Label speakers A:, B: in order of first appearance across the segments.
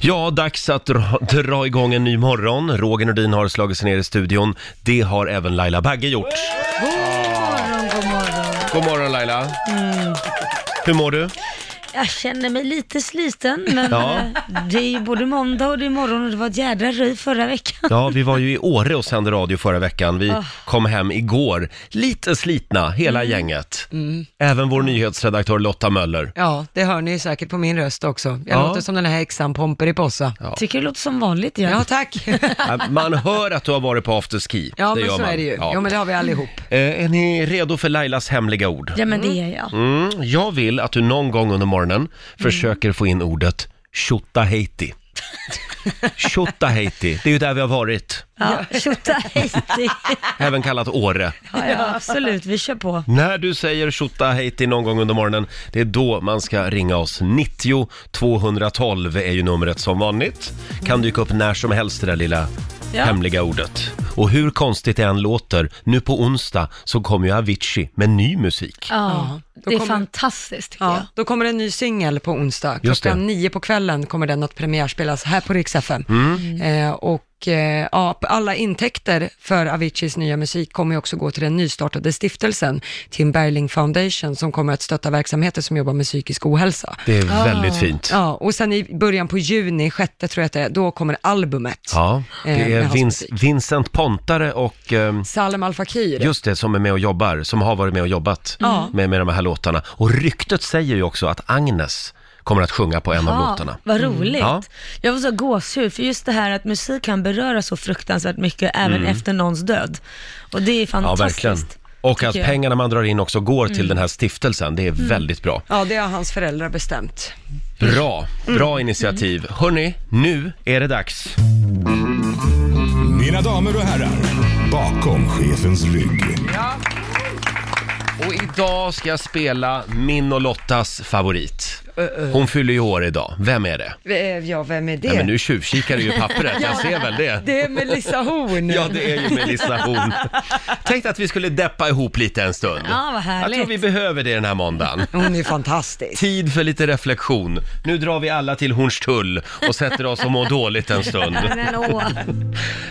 A: Ja, dags att dra, dra igång en ny morgon. Roger Nordin har slagit sig ner i studion. Det har även Laila Bagge gjort.
B: morgon, god morgon.
A: God morgon Laila! Hur mår
C: Mm.
A: du?
B: Jag känner mig lite sliten, men
A: Ja.
B: eh, det är ju både måndag och det är morgon och det var ett jädra röj förra veckan.
A: Ja, vi var ju i Åre och sände radio förra veckan. Vi
B: Ah.
A: kom hem igår, lite slitna, hela gänget.
C: Mm.
A: Även vår nyhetsredaktör Lotta Möller.
C: Ja, det hör ni säkert på min röst också. Jag
A: Ja.
C: låter som den här häxan Pomperipossa. Ja.
B: Tycker det låter som vanligt ja.
C: ja, tack.
A: Ja, Äh, Man hör att du har varit på afterski.
C: Ja, men
A: gör
C: så
A: man.
C: är det ju.
A: Ja.
C: Jo, men det har vi allihop.
A: Eh, Är ni redo för Lailas hemliga ord?
B: Ja men det är jag.
A: Mm, jag vill att du någon gång under morgonen försöker få in ordet Haiti. Haiti, det är ju där vi har varit.
B: Ja, tjota Haiti.
A: Även kallat Åre.
B: Ja, ja, absolut, vi kör på.
A: När du säger Haiti någon gång under morgonen, det är då man ska ringa oss. 90 212 är ju numret som vanligt. Kan dyka upp när som helst det där lilla
B: Ja.
A: hemliga ordet. Och hur konstigt det än låter, nu på onsdag så kommer ju Avicii med ny musik.
B: Ja,
C: då
B: det är
C: kommer-
B: fantastiskt tycker
C: Ja, då kommer en ny singel på onsdag.
A: Just det.
C: Klockan nio på kvällen kommer den att premiärspelas här på Rix FM.
A: Mm.
C: Eh, och eh, ja, alla intäkter för Aviciis nya musik kommer ju också gå till den nystartade stiftelsen Tim Berling Foundation som kommer att stötta verksamheter som jobbar med psykisk ohälsa.
A: Det är väldigt fint.
C: Ja, och sen i början på juni, sjätte tror jag att det är, då kommer albumet.
A: Ja,
C: Eh,
A: det
C: med
A: är
C: hans
A: Vince,
C: musik.
A: Vincent Pontare och ehm,
C: Salem Al Fakir.
A: just det, som är med och jobbar, som har varit med och jobbat
C: Ja.
A: med, med de här låtarna. Och ryktet säger ju också att Agnes kommer att sjunga på en av
B: Ja,
A: låtarna.
B: Vad roligt.
A: Mm. Ja.
B: Jag var så gåshud, för just det här att musik kan beröra så fruktansvärt mycket även efter någons död. Och det är
A: Mm. Ja,
B: fantastiskt.
A: verkligen. Och
B: tycker
A: att
B: jag.
A: pengarna man drar in också går
C: Mm.
A: till den här stiftelsen, det är väldigt bra.
C: Ja, det har hans föräldrar bestämt.
A: Bra,
C: Mm.
A: bra initiativ. Hörni, nu är det dags.
D: Mina damer och herrar, bakom chefens rygg.
A: Och idag ska jag spela min och Lottas favorit. Hon fyller ju år idag. Vem är det?
C: Eh, Ja, vem är det?
A: Nej, men nu tjuvkikar du ju i pappret, jag ser väl det.
C: Det är Melissa Horn.
A: Ja, det är ju Melissa Horn. Tänkte att vi skulle deppa ihop lite en stund.
B: Ja, vad härligt.
A: Jag tror vi behöver det den här måndagen.
C: Hon är fantastisk.
A: Tid för lite reflektion. Nu drar vi alla till Hornstull och sätter oss och mår dåligt en stund.
B: Men åh,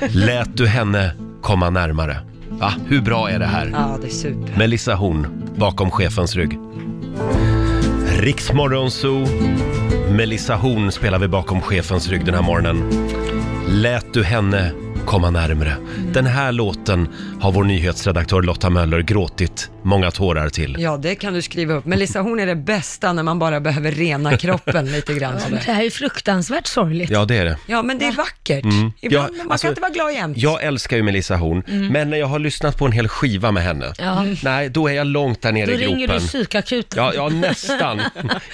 A: Lät du henne komma närmare? Va? Hur bra är det här?
C: Ja, det är super.
A: Melissa Horn, bakom chefens rygg. Riksmorgon Zoo. Melissa Horn spelar vi bakom chefens rygg den här morgonen. Lät du henne komma närmre. Den här låten har vår nyhetsredaktör Lotta Möller gråtit många tårar till.
C: Ja, det kan du skriva upp. Melissa Horn är det bästa när man bara behöver rena kroppen lite grann. sådär.
B: det här är ju fruktansvärt sorgligt.
A: Ja, det är det.
C: Ja, men det är vackert.
A: Ja,
C: Ibland, men man
A: alltså,
C: kan inte vara glad jämt. Mm.
A: Jag älskar ju Melissa Horn, men när jag har lyssnat på en hel skiva med henne,
B: Ja.
A: nej, då är jag långt där nere
B: Då
A: i gropen.
B: ringer du psykakuten.
A: Ja, ja, nästan.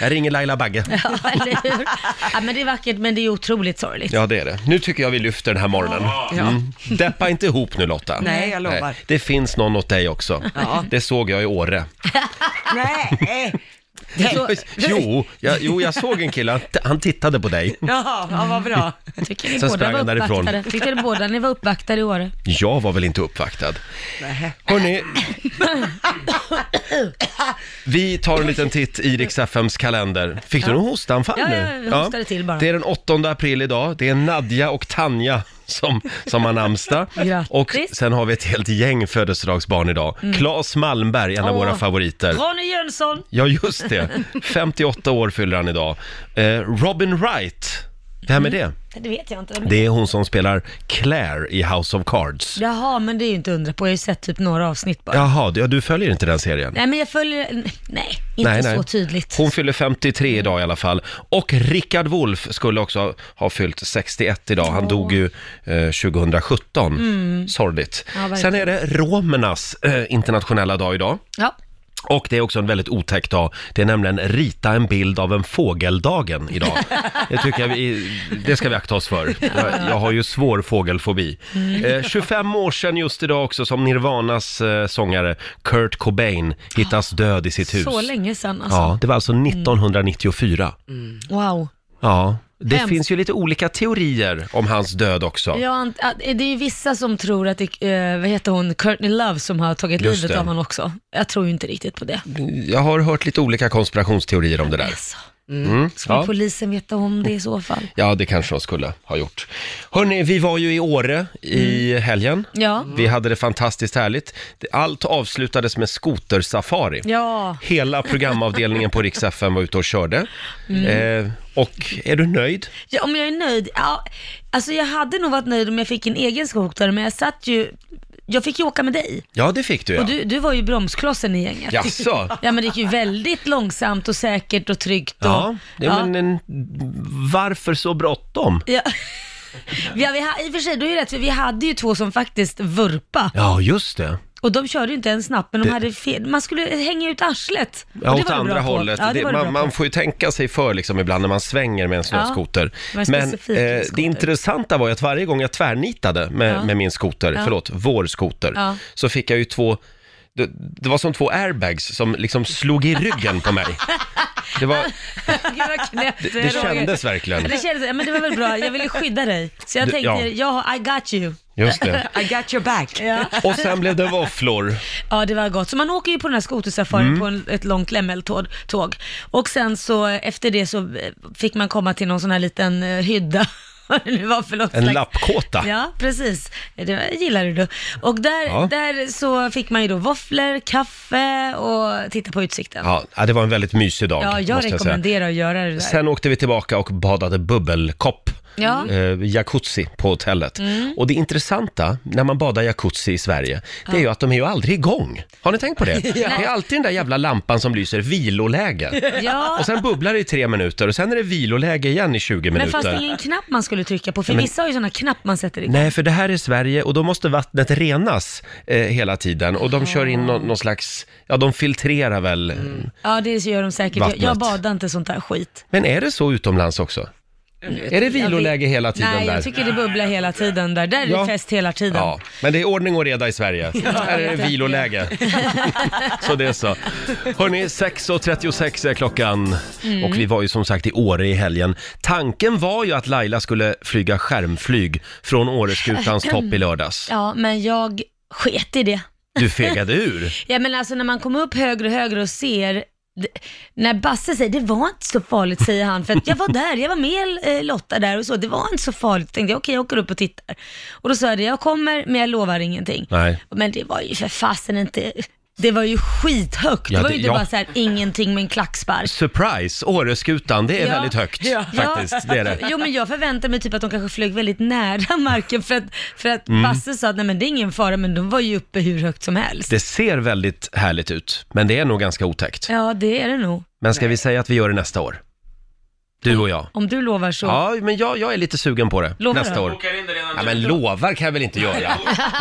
A: Jag ringer Laila Bagge.
B: Ja, eller hur? Ja, men det är vackert, men det är otroligt sorgligt.
A: Ja, det är det. Nu tycker jag vi lyfter den här morgonen. Mm. Deppa inte ihop nu Lotta.
C: Nej, jag lovar.
A: Det finns någon åt dig också. Det såg jag i Åre.
C: Nej! Alltså,
A: Jo, jag, jo, jag såg en kille, han, han tittade på dig.
C: Jaha, ja, vad bra.
B: Tycker ni
A: Sen
B: båda
A: sprang
B: var
A: han därifrån.
B: uppvaktade? Tycker ni båda ni var uppvaktade i år?
A: Jag var väl inte uppvaktad.
C: Nej.
A: Hörni, vi tar en liten titt i Rix FMs kalender. Fick du någon hostanfall
B: Ja,
A: nu?
B: ja, jag hostade till bara.
A: Det är den 8 april idag. Det är Nadja och Tanja som, som har namnsdag.
B: Grattis. Mm.
A: Och sen har vi ett helt gäng födelsedagsbarn idag. Claes Malmberg, en av
B: Åh.
A: våra favoriter.
B: Ronny Jönsson!
A: Ja, just det. 58 år fyller han idag. Eh, Robin Wright, vem är det?
B: Det vet jag inte. Vem
A: Det är hon som spelar Claire i House of Cards.
B: Jaha, men det är ju inte undra på. Jag har ju sett typ några avsnitt bara.
A: Jaha, du- ja, du följer inte den serien?
B: Nej, men jag följer... Nej, inte
A: Nej,
B: så
A: nej.
B: tydligt.
A: Hon fyller 53 idag i alla fall. Och Rickard Wolff skulle också ha fyllt 61 idag. Han dog ju eh, 2017. Sorgligt.
B: Mm. Ja, verkligen.
A: Sen är det romernas eh, internationella dag idag.
B: Ja.
A: Och det är också en väldigt otäck dag. Det är nämligen rita en bild av en fågeldagen idag. Det tycker jag vi, det ska vi akta oss för. Jag, jag har ju svår fågelfobi.
B: Mm.
A: Eh, 25 år sedan just idag också som Nirvanas eh, sångare Kurt Cobain hittas död i sitt hus.
B: Så länge sedan alltså.
A: Ja, det var alltså 1994.
B: Wow.
A: Ja. Det
B: Hemskt.
A: finns ju lite olika teorier om hans död också.
B: Ja, ant- att- det är ju vissa som tror att det eh, vad heter hon, Courtney Love som har tagit
A: Just
B: livet
A: det.
B: av honom också. Jag tror ju inte riktigt på det.
A: Jag har hört lite olika konspirationsteorier om det där.
B: Alltså.
A: Mm.
B: Skulle
A: Ja.
B: polisen veta om det i så fall?
A: ja, det kanske de skulle ha gjort. Hörni, vi var ju i Åre i helgen.
B: Mm. Ja.
A: Vi hade det fantastiskt härligt. Allt avslutades med skotersafari.
B: Ja.
A: Hela programavdelningen på Rix FM var ute och körde.
B: Mm.
A: Eh, och är du nöjd?
B: Ja, om jag är nöjd? Ja, alltså jag hade nog varit nöjd om jag fick en egen skotare, men jag satt ju... Jag fick ju åka med dig.
A: Ja, det fick du ja.
B: Och du, du var ju bromsklossen i gänget.
A: Jaså?
B: Ja, men det gick ju väldigt långsamt och säkert och tryggt. Och,
A: Ja, det,
B: ja.
A: men en, varför så bråttom?
B: Ja. Ja, vi ha, I och för sig, du har ju rätt, för vi hade ju två som faktiskt vurpa
A: Ja, just det.
B: och de körde ju inte ens snabbt, men de hade fel. Man skulle hänga ut arslet. Och
A: Ja, åt
B: det var du bra
A: andra
B: på.
A: hållet.
B: Ja, det
A: det,
B: var du bra
A: man, man
B: på.
A: får ju tänka sig för liksom ibland när man svänger med en snöskoter.
B: det var
A: Men
B: en
A: eh,
B: specifik
A: det
B: skoter.
A: intressanta var ju att varje gång jag tvärnitade med,
B: Ja.
A: med min skoter, förlåt, vår skoter,
B: Ja.
A: så fick jag ju två det, det var som två airbags som liksom slog i ryggen på mig. Det, var,
B: Gud, vad knäppt du är,
A: det
B: Roger.
A: kändes verkligen.
B: Ja, Det kändes, ja, men det var väl bra, jag ville skydda dig. Så jag
A: Du-
B: tänkte,
A: ja.
B: jag har- I got you.
A: Just det.
C: I got your back.
B: Ja.
A: Och sen blev det våfflor.
B: ja, det var gott. Så man åker ju på den här skotersafarin
A: Mm.
B: på en, ett långt lämmeltåg. tåg. Och sen så eh, efter det så eh, fick man komma till någon sån här liten eh, hydda. Vad det nu var för något
A: En
B: slags-
A: lappkåta.
B: Ja, precis. Eh, Det gillar du. då. Och där,
A: Ja.
B: där så fick man ju då våfflor, kaffe och titta på utsikten. Ja,
A: Ja, ja, det var en väldigt mysig dag.
B: jag
A: måste säga.
B: rekommenderar att göra det där.
A: Sen åkte vi tillbaka och badade bubbelkopp.
B: Ja. Mm.
A: Eh, jacuzzi på hotellet. Och det intressanta när man badar jacuzzi i Sverige, det är ju att de är ju aldrig igång. Har ni tänkt på det? Det är alltid den där jävla lampan som lyser viloläge.
B: ja,
A: Och sen bubblar det i tre minuter och sen är det viloläge igen i 20
B: men
A: minuter.
B: fanns det ingen knapp man skulle trycka på? För
A: men-
B: vissa har ju sådana knapp man sätter igång.
A: Nej, för det här är Sverige och då måste vattnet renas eh, hela tiden och de kör in någon, någon slags, ja de filtrerar väl.
B: Ja, det gör de säkert. Jag, jag
A: Vattnet.
B: badar inte sånt där skit.
A: Men är det så utomlands också? Är det viloläge hela tiden
B: Nej,
A: där?
B: jag tycker det bubblar hela tiden där. Där är det
A: Ja.
B: fest hela tiden.
A: Ja, men det är ordning och reda i Sverige. Här är det viloläge. så det är så. Hörni, 6.36 är klockan
B: Mm.
A: och vi var ju som sagt i Åre i helgen. Tanken var ju att Laila skulle flyga skärmflyg från Åreskutans topp i lördags.
B: Ja, men jag sket i det.
A: Du fegade ur.
B: Ja, men alltså när man kommer upp högre och högre och ser d- när Basse säger det var inte så farligt, säger han, för att jag var där, jag var med eh, Lotta där och så, det var inte så farligt. Tänkte jag, okej, jag åker upp och tittar. Och då sa jag det, jag kommer, men jag lovar ingenting.
A: Nej.
B: Men det var ju för fasen inte, det var ju skithögt.
A: Ja,
B: det var
A: det-
B: ju inte
A: ja.
B: bara så här, ingenting med en klackspark.
A: Surprise, Åreskutan, det är
B: Ja.
A: väldigt högt faktiskt. Det är det.
B: Jo men jag förväntade mig typ att de kanske flög väldigt nära marken för att, för att
A: Mm.
B: Basse sa att nej men det är ingen fara men de var ju uppe hur högt som helst.
A: Det ser väldigt härligt ut, men det är nog ganska otäckt.
B: Ja det är det nog.
A: Men ska vi säga att vi gör det nästa år? Du och jag.
B: Om du lovar så.
A: Ja, men jag, jag är lite sugen på det.
B: Lovar
A: nästa
B: du?
A: år.
E: Bokar in det redan
A: Ja,
E: nu.
A: men lovar kan jag väl inte göra?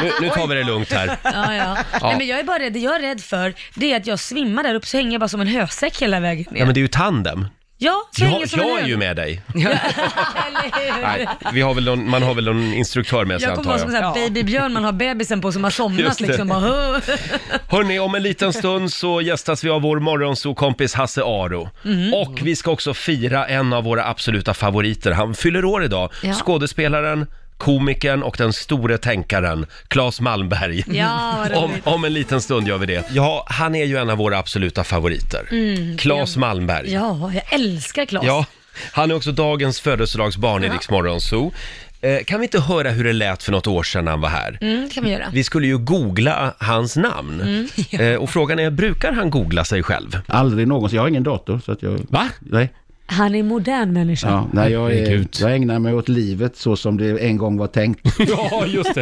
A: Nu, nu tar vi det lugnt här.
B: Ja, ja. Nej, men jag är bara rädd, det jag är rädd för det är att jag svimmar där uppe så hänger jag bara som en hösäck hela vägen ner.
A: Ja, men det är ju tandem.
B: Ja, så hänger
A: Jag,
B: jag som
A: jag
B: en
A: är
B: hö-
A: ju med dig.
B: Eller hur?
A: Nej, vi har väl någon, man har väl någon instruktör med sig
B: Jag kommer vara
A: antar
B: som
A: jag.
B: en ja. babybjörn man har bebisen på som har
A: Just
B: somnat
A: det.
B: liksom. Bara, "Hö."
A: Hörni, om en liten stund så gästas vi av vår morgonsokompis Hasse Aro.
B: Mhm.
A: Och vi ska också fira en av våra absoluta favoriter. Han fyller år idag.
B: Ja.
A: Skådespelaren, komikern och den store tänkaren Claes Malmberg.
B: Ja, vad roligt.
A: Om, om en liten stund gör vi det. Ja, han är ju en av våra absoluta favoriter. Claes Malmberg.
B: Mm, ja, jag älskar Claes.
A: Ja, han är också dagens födelsedagsbarn i Rix Morgon Zoo. Eh, Kan vi inte höra hur det lät för något år sedan när han var här?
B: Mm, kan vi göra.
A: Vi skulle ju googla hans namn.
B: Mm.
A: Eh, Och frågan är, brukar han googla sig själv?
F: Aldrig någonsin. Jag har ingen dator. Så att jag,
A: Va?
F: Nej.
B: Han är en modern människa.
F: Ja, nej jag, är,
A: Herregud.
F: jag ägnar mig åt livet så som det en gång var tänkt.
A: Ja, just det.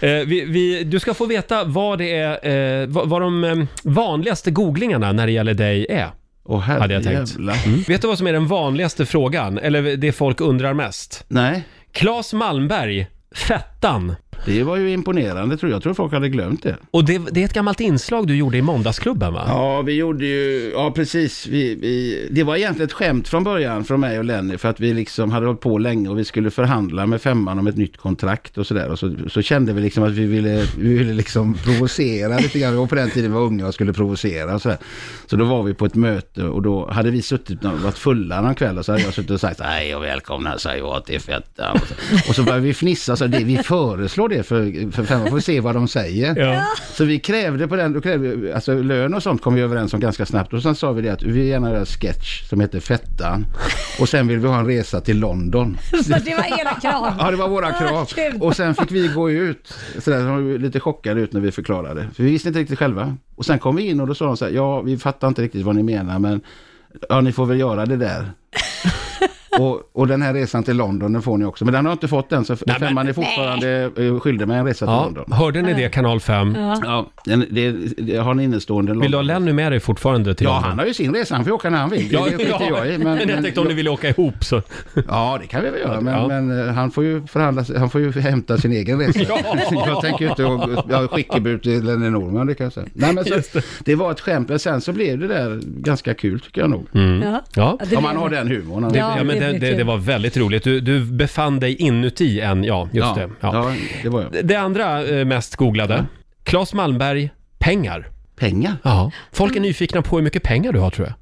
A: Eh, vi, vi, du ska få veta vad, det är, eh, vad, vad de eh, vanligaste googlingarna när det gäller dig är.
F: Och
A: Hade jag tänkt. Mm. Vet du vad som är den vanligaste frågan, eller det folk undrar mest?
F: Nej,
A: Claes Malmberg, Fettan.
F: det var ju imponerande tror jag. Jag tror folk hade glömt det.
A: Och det, det är ett gammalt inslag du gjorde i Måndagsklubben va?
F: Ja, vi gjorde ju, ja precis. Vi, vi, det var egentligen ett skämt från början från mig och Lenny för att vi liksom hade hållit på länge och vi skulle förhandla med femman om ett nytt kontrakt och sådär. Och så, så kände vi liksom att vi ville, vi ville liksom provocera lite grann. Och på den tiden var unga och skulle provocera och sådär. Så då var vi på ett möte och då hade vi suttit, och varit fulla någon kväll och så hade jag suttit och sagt hej och välkomna, säg åt det är fett. Och så började vi fnissa, så det, vi föreslår det det för, för femman, får vi se vad de säger.
E: Ja.
F: Så vi krävde på den, då krävde, vi- alltså lön och sånt kom vi överens om ganska snabbt och sen sa vi det att vi vill gärna göra en sketch som heter Fettan och sen vill vi ha en resa till London.
B: Så det var era krav.
F: Ja, det var våra krav.
B: Ah, kul.
F: Och sen fick vi gå ut. Så där, de var lite chockade ut när vi förklarade. För vi visste inte riktigt själva. Och sen kom vi in och då sa de så här, ja, vi fattar inte riktigt vad ni menar, men ja, ni får väl göra det där. och, och den här resan till London, den får ni också. Men den har jag inte fått än, så
E: Nej, men-
F: femman är fortfarande eh, skyldig mig en resa till
E: Ja,
F: London.
E: hörde ni det, kanal 5?
F: Ja, den, det, det har en innestående
E: Vill du ha
F: London.
E: Lenny med dig fortfarande till
F: Ja,
E: London?
F: han har ju sin resa, han får åka när han vill. Det, ja, det skiter jag i. Men,
E: men jag tänkte om ni ville åka ihop så.
F: Ja, det kan vi väl göra, men,
E: Ja.
F: men eh, han, får ju förhandla, sig- han får ju hämta sin egen resa. Jag tänker ju inte att jag skickar ut till en Norman, det kan jag säga. Nej, men så, det var ett skämt, men sen så blev det där ganska kul tycker jag nog.
B: Ja.
E: Ja.
B: det
F: Om man
B: blev-
F: har den humorn.
B: Ja,
E: Mm. Ja, men
B: det
E: det, det,
B: blir kul.
E: det var väldigt roligt. Du, du befann dig inuti en, ja, just
F: ja,
E: det. Ja.
F: ja, det var jag.
E: Det andra eh, mest googlade, Claes Malmberg, pengar.
F: Pengar?
E: Ja. Folk är nyfikna på hur mycket pengar du har tror jag.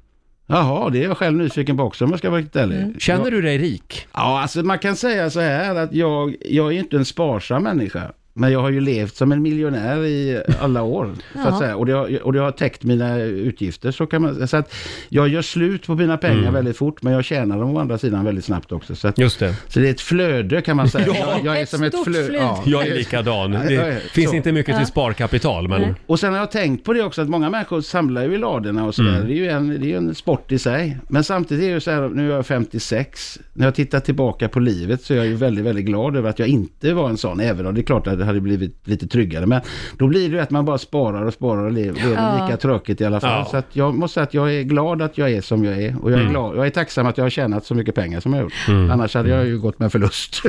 F: Jaha, det är jag själv nyfiken på också om jag ska vara riktigt ärlig.
E: Känner du dig rik?
F: Ja, alltså man kan säga så här att jag, jag är ju inte en sparsam människa. Men jag har ju levt som en miljonär i alla år. så att säga. Och, det har, och det har täckt mina utgifter. Så, kan man, så att jag gör slut på mina
E: Mm.
F: pengar väldigt fort, men jag tjänar dem å andra sidan väldigt snabbt också. Så, att,
E: Just det.
F: så det är ett flöde kan man säga. jag, jag är
B: Ett
F: som ett
B: stort
F: flöde.
B: flöde.
F: Ja.
E: Jag är likadan.
F: Ja, ja, ja.
E: Det finns
F: Så.
E: inte mycket till sparkapital, men
F: Och sen har jag tänkt på det också att många människor samlar ju i ladorna och sådär. Det är ju en, det är ju en sport i sig. Men samtidigt är det ju så här, nu är jag 56. När jag tittar tillbaka på livet så är jag ju väldigt, väldigt glad över att jag inte var en sån. Även om det är klart att det hade blivit lite tryggare. Men då blir det ju att man bara sparar och sparar och lever, lever lika tråkigt i alla fall.
E: Ja.
F: Så att jag måste säga att jag är glad att jag är som jag är. Och jag är, glad, jag är tacksam att jag har tjänat så mycket pengar som jag har gjort. Annars hade jag ju gått med förlust.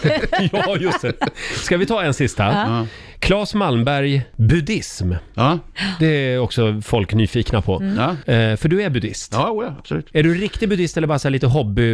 E: ja, just det. Ska vi ta en sista?
F: Ja.
E: Claes Malmberg, buddhism.
F: ja.
E: Det är också folk nyfikna på.
F: Mm. ja.
E: Eh, för du är buddhist.
F: Ja, oja, absolut.
E: Är du riktig buddhist eller bara så här lite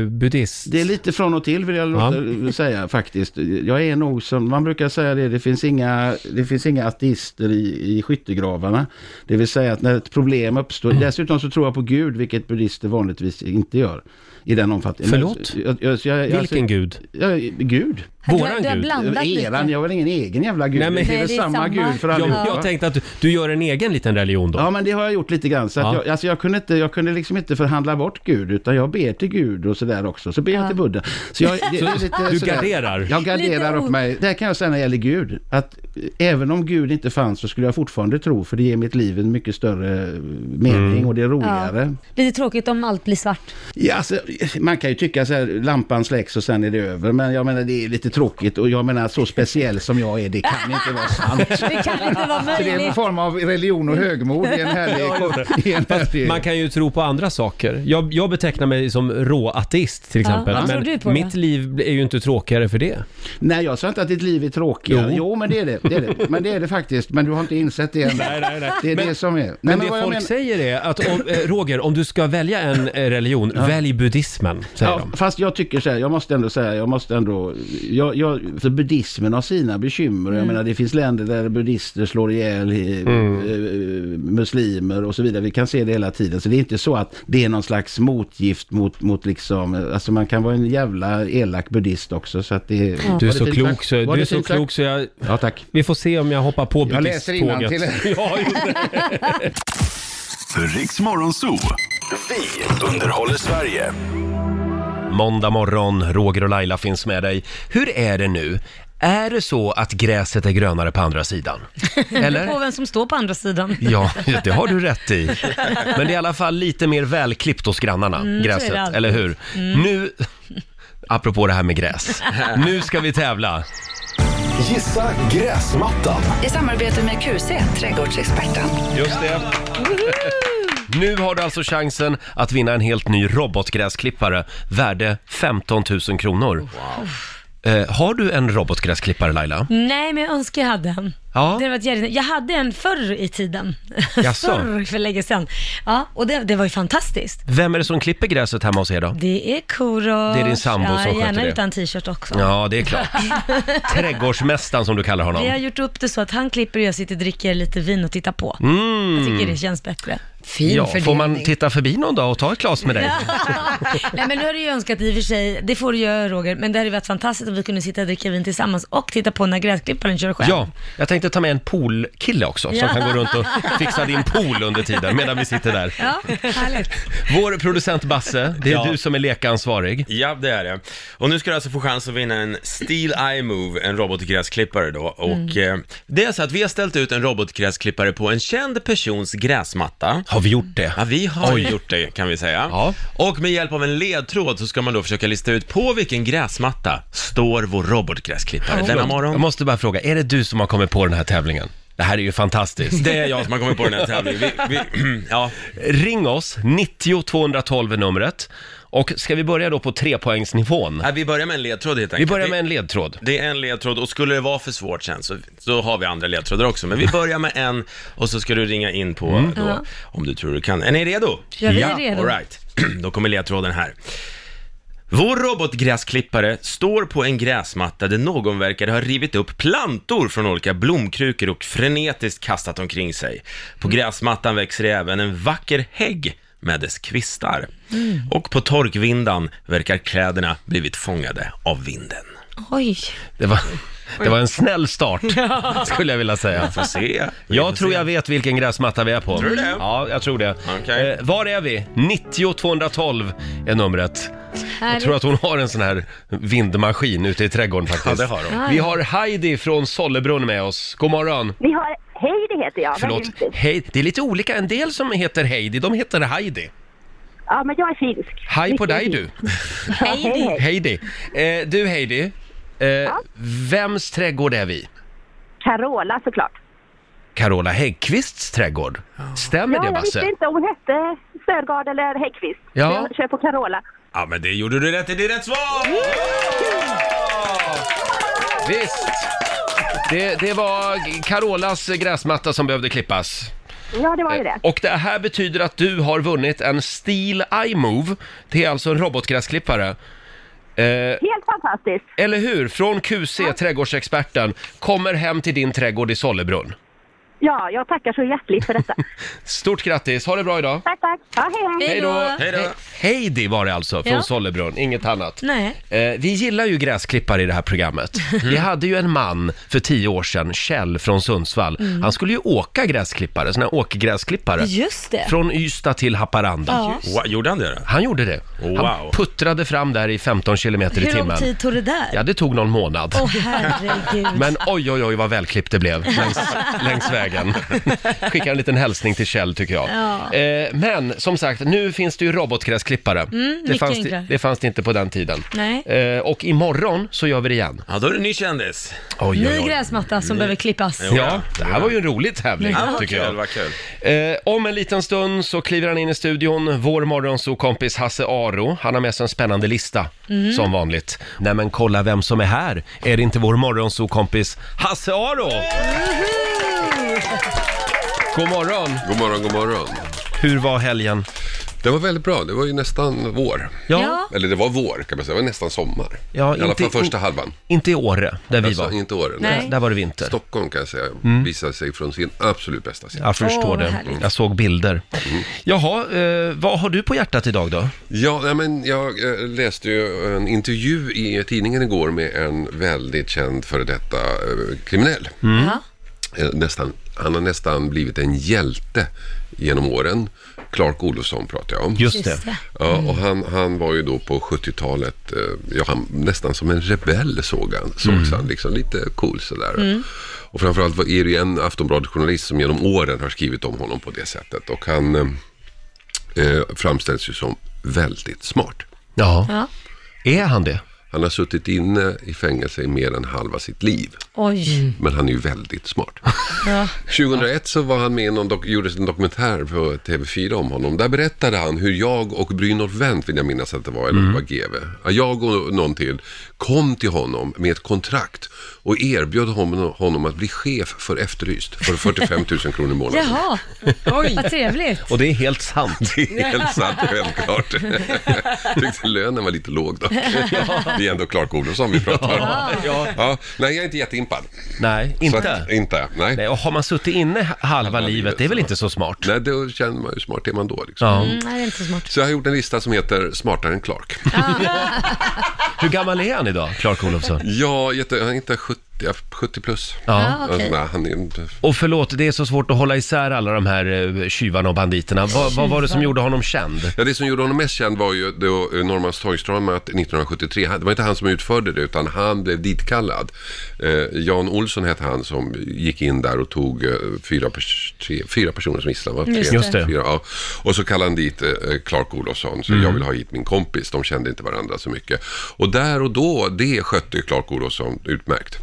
E: hobbybuddhist?
F: Det är lite från och till vill jag låta eh, säga faktiskt. Jag är nog som, man brukar säga det, det finns inga, det finns inga ateister i, i skyttegravarna. Det vill säga att när ett problem uppstår,
E: Mm.
F: dessutom så tror jag på Gud, vilket buddister vanligtvis inte gör. I den omfattningen.
E: Förlåt?
F: Jag, jag, jag, jag,
E: Vilken gud?
F: Jag, gud?
E: Våran
B: du, har-
E: gud?
B: du har blandat
F: Eran,
B: lite.
F: jag har väl ingen egen jävla gud?
E: Nej, men-
F: det är väl
B: Nej, det är
F: samma,
B: samma.
F: gud för
B: Ja,
E: Jag,
F: allihopa?
E: jag tänkte att du, du gör en egen liten religion då.
F: Ja, men det har jag gjort lite grann. Så att
E: Ja.
F: jag, alltså jag, kunde inte, jag kunde liksom inte förhandla bort Gud, utan jag ber till Gud och sådär också. Så ber jag till Buddha. Så jag, det, är lite
E: du
F: sådär-
E: garderar?
F: Jag garderar
B: Lite
F: upp
B: o-
F: mig. Det här kan jag säga när det gäller Gud, att eh, även om Gud inte fanns så skulle jag fortfarande tro, för det ger mitt liv en mycket större eh, mening
E: Mm.
F: och det är roligare.
B: Lite tråkigt om allt blir svart.
F: Ja, alltså, man kan ju tycka så här, lampan släcks och sen är det över, men jag menar det är lite tråkigt och jag menar så speciell som jag är, det kan inte vara sant.
B: Det kan inte vara
F: Så det är en
B: möjligt.
F: form av religion och högmod i en härlig... i en härlig-
E: Man kan ju tro på andra saker. Jag, jag betecknar mig som råateist till exempel.
B: vad tror du
E: men
B: på då?
E: mitt liv är ju inte tråkigare för det.
F: Nej, jag sa inte att ditt liv är tråkigt.
E: Jo.
F: Jo, men det är det. det, är det. Men det är det faktiskt. Men du har inte insett det än.
E: Nej, nej, nej.
F: Det är
E: Men-
F: det som är. Nej,
E: Men,
F: vad
E: det
F: jag
E: folk
F: menar-
E: säger är att om, eh, Roger, om du ska välja en eh, religion, välj buddhismen, säger
F: Ja,
E: de.
F: fast jag tycker så här, jag måste ändå säga, jag måste ändå, jag, jag, för buddhismen har sina bekymmer. Jag menar det finns länder där buddhister slår ihjäl eh,
E: Mm.
F: eh, muslimer och så vidare. Vi kan se det hela tiden. Så det är inte så att det är någon slags motgift mot, mot liksom, eh, alltså man kan vara en jävla elak buddhist också. Så att det, Var
E: Du är
F: det
E: så
F: fint
E: klok
F: sagt?
E: så,
F: Var
E: du är
F: det
E: så
F: fint sagt?
E: klok så jag...
F: Ja, tack.
E: Vi får se om jag hoppar på
F: Jag läser
E: buddhisttåget.
F: innantill.
E: Ja, just det.
D: Riks Morgonzoo. Vi underhåller Sverige.
A: Måndag morgon, Roger och Laila finns med dig. Hur är det nu? Är det så att gräset är grönare på andra sidan? Eller?
B: På vem som står på andra sidan.
A: Ja, det har du rätt i. Men det är i alla fall lite mer välklippt hos grannarna,
B: Mm, så är det
A: gräset,
B: alltid. Mm.
A: eller hur? Nu, apropå det här med gräs, nu ska vi tävla.
D: Gissa gräsmattan.
G: I samarbete med QC, trädgårdsexperten.
A: Just det. Nu har du alltså chansen att vinna en helt ny robotgräsklippare värde 15 000 kronor. Eh, har du en robotgräsklippare Laila?
B: Nej, men jag önskar jag hade en.
A: Ja.
B: Det hade varit jävligt, jag hade en förr i tiden.
A: Jaså?
B: förr, för länge sedan. Ja, och det, det var ju fantastiskt.
A: Vem är det som klipper gräset hemma hos er då?
B: Det är Korosh.
A: Det är din sambo
B: ja,
A: som sköter
B: gärna
A: det.
B: utan t-shirt också.
A: Ja, det är klart. Trädgårdsmästaren som du kallar
B: Vi har
A: honom.
B: gjort upp det så att han klipper och jag sitter och dricker lite vin och tittar på. Jag
A: Mm.
B: tycker det känns bättre.
C: Fin
A: Ja,
C: fördelning.
A: får man titta förbi någon dag och ta ett glas med dig?
B: Nej men nu har du ju önskat i och för sig, det får du göra Roger, men det hade ju varit fantastiskt om vi kunde sitta och dricka vin tillsammans och titta på när gräsklipparen kör själv.
A: Ja, jag tänkte ta med en poolkille också som
B: Ja.
A: kan gå runt och fixa din pool under tiden medan vi sitter där.
B: Ja, härligt.
A: Vår producent Basse, det är
H: Ja.
A: du som är lekansvarig.
H: Ja, det är det. Och nu ska du alltså få chans att vinna en Steel Eye Move, en robotgräsklippare då. Och eh, det är så att vi har ställt ut en robotgräsklippare på en känd persons gräsmatta.
A: Har vi gjort det?
H: Ja, vi har
A: Oj.
H: gjort det kan vi säga.
A: Ja.
H: Och med hjälp av en ledtråd så ska man då försöka lista ut på vilken gräsmatta står vår robotgräsklippare denna
A: Jag
H: morgon.
A: måste bara fråga, är det du som har kommit på den här tävlingen? Det här är ju fantastiskt.
H: Det är jag som har kommit på den här tävlingen. Vi, vi, ja,
A: Ring oss, 90 212 är numret. Och ska vi börja då på trepoängsnivån?
H: Nej, vi börjar med en ledtråd helt
A: Vi
H: enkelt.
A: börjar med en ledtråd.
H: Det är en ledtråd och skulle det vara för svårt sen så, så har vi andra ledtrådar också. Men vi börjar med en och så ska du ringa in på då,
B: Mm. Ja.
H: om du tror du kan. Är ni redo?
B: Ja, vi är redo.
H: All right. Då kommer ledtråden här. Vår robotgräsklippare står på en gräsmatta där någon verkade ha rivit upp plantor från olika blomkrukor och frenetiskt kastat omkring sig. På
B: Mm.
H: gräsmattan växer även en vacker hägg med dess kvistar.
B: Mm.
H: Och på torkvindan verkar kläderna blivit fångade av vinden.
B: Oj.
A: Det var, det var en snäll start, skulle jag vilja säga.
H: Får se.
A: Jag tror jag vet vilken gräsmatta vi är på.
H: Tror du det?
A: Ja, jag tror det.
H: Okej.
A: Eh, var är vi? 90 212 är numret. Jag
B: Härligt.
A: tror att hon har en sån här vindmaskin ute i trädgården faktiskt.
H: Ja, det har hon.
A: Vi har Heidi från Sollebrunn med oss. God morgon.
I: Vi har Heidi heter jag.
A: Förlåt.
I: Vad roligt.
A: Hej. Det är lite olika. En del som heter Heidi, de heter Heidi.
I: Ja, men jag är finsk.
A: Hej på
I: Mycket
A: dig
I: fint.
A: du.
I: Ja, hej, hej.
A: Heidi. Eh, du Heidi, eh, vems trädgård är vi?
I: Carola såklart.
A: Carola Häggkvists trädgård. Stämmer
I: Ja,
A: det
I: jag visste
A: Basse?
I: inte om hon hette Sörgard eller Häggkvist. Så
A: Ja.
I: Jag kör på Carola.
H: Ja, men det gjorde du rätt i. Det är rätt svar!
A: Visst! Det, det var G- Carolas gräsmatta som behövde klippas.
I: Ja, det var ju det.
A: Eh, Och det här betyder att du har vunnit en Steel iMove. Det är alltså en robotgräsklippare. Eh,
I: Helt fantastiskt.
A: eller hur? Från QC, trädgårdsexperten, kommer hem till din trädgård i Sollebrunn.
I: Ja, jag tackar så hjärtligt för detta.
A: Stort grattis, ha det bra idag!
I: tack, tack. Ja, hej, hej.
A: Hej då!
H: Hej då.
A: He- Heidi var det alltså, från
B: Ja.
A: Sollebrunn, inget annat.
B: Nej.
A: Eh, vi gillar ju gräsklippare i det här programmet.
H: Mhm.
A: Vi hade ju en man för tio år sedan, Kjell från Sundsvall.
B: Mm.
A: Han skulle ju åka gräsklippare, sån här åkgräsklippare.
B: Just det.
A: Från Ystad till Haparanda.
H: Wow, gjorde han det då?
A: Han gjorde det. Han
H: Oh, Wow.
A: puttrade fram där i 15 kilometer i
B: Hur lång
A: timmen.
B: tid tog det där?
A: Ja, det tog någon månad.
B: Åh herregud.
A: Men oj, oj, oj vad välklippt det blev längs, längs vägen. Skickar en liten hälsning till Kjell tycker jag.
B: Ja.
A: Eh, men som sagt, nu finns det ju robotgräsklippare. det,
B: Mm, mycket
A: fanns det,
B: enklare.
A: det fanns det inte på den tiden.
B: Nej.
A: Eh, och imorgon så gör vi det igen.
H: Ja, då är du ny kändis.
A: Oj,
B: Ny gräsmatta som behöver klippas.
H: Jo.
A: Ja, det här var ju en rolig tävling
H: Ja, vad
A: tycker
H: kul,
A: jag.
H: vad kul.
A: Eh, om en liten stund så kliver han in i studion, vår morgonsokompis Hasse Aro. Han har med sig en spännande lista,
B: Mm.
A: som vanligt. Nej men kolla vem som är här! Är det inte vår morgonsokompis Hasse Aro? God morgon!
J: God morgon, god morgon.
A: Hur var helgen?
J: Det var väldigt bra. Det var ju nästan vår.
B: Ja.
J: Eller det var vår kan man säga. Det var nästan sommar.
A: Ja,
J: I alla
A: inte-
J: fall första halvan.
A: Inte i Åre, där vi
J: Alltså,
A: var. Mm.
J: inte åren.
B: Nej.
A: Där var det vinter.
J: Stockholm kan jag säga visade sig från sin absolut bästa sida.
A: Jag förstår
B: Åh, vad
A: det.
B: härligt.
A: Jag såg bilder. Jaha, eh, vad har du på hjärtat idag då?
J: Ja, nej, men jag eh, läste ju en intervju i tidningen igår med en väldigt känd före detta eh, kriminell.
A: Mm.
B: Ja.
J: Eh, Nästan, han har nästan blivit en hjälte genom åren. Clark Olofsson pratar jag om.
A: Just
B: Just
A: det.
B: det.
J: Ja, och han, han var ju då på 70-talet, eh, ja, han, nästan som en rebell såg han, sågs han liksom, lite cool sådär. Och framförallt var är det ju en Aftonbladet-journalist som genom åren har skrivit om honom på det sättet. Och han eh, eh, framställs ju som väldigt smart.
A: Ja.
B: Ja.
A: Är han det?
J: Han har suttit inne i fängelse i mer än halva sitt liv.
A: Mm.
B: Oj.
J: Men han är ju väldigt smart.
B: Ja.
J: 2001 så var han med i någon dok- gjordes en dokumentär på TV4 om honom. Där berättade han hur jag och Brynolf Wendt, vill jag minnas att det var, eller om det var GV. Ja, Jag och någon till kom till honom med ett kontrakt och erbjöd honom, honom att bli chef för Efterlyst för 45 000 kronor i månaden.
B: Jaha, Oj. vad trevligt.
A: Och det är helt sant.
J: Det är helt sant, självklart. Tyckte lönen var lite låg dock. Det är ändå Clark Olofsson vi pratar om.
A: Ja.
J: Ja, nej, jag är inte jätteimpad.
A: Nej,
J: Så
A: inte.
J: att- inte, nej.
A: Nej, och har man suttit inne halva, livet, det är väl inte så smart?
J: Nej, då känner man hur smart är man då liksom.
A: Ja.
B: Mm, nej, det är inte så smart.
J: Så jag har gjort en lista som heter Smartare än Clark.
A: Hur gammal är han idag, Clark Olofsson?
J: Ja, jätte, han är inte 70, ja, 70 plus.
A: Ja.
B: Ja, okej.
J: nej, han är,
A: Och förlåt, det är så svårt att hålla isär alla de här eh, tjuvarna och banditerna. Vad, vad var det som gjorde honom känd?
J: ja, det som gjorde honom mest känd var ju då eh, Norrmalmstorgsdramat 1973. Han- Det var inte han som utförde det, utan han blev ditkallad. Eh, Jan Olsson hette han som gick in där och tog eh, fyra, pers, tre, fyra personer som gisslan. va? Tre,
B: Just det. Just
A: det.
J: Fyra, ja. Och så kallade han dit eh, Clark Olofsson, så jag vill ha hit min kompis. De kände inte varandra så mycket. Och där och då, det skötte Clark Olofsson utmärkt.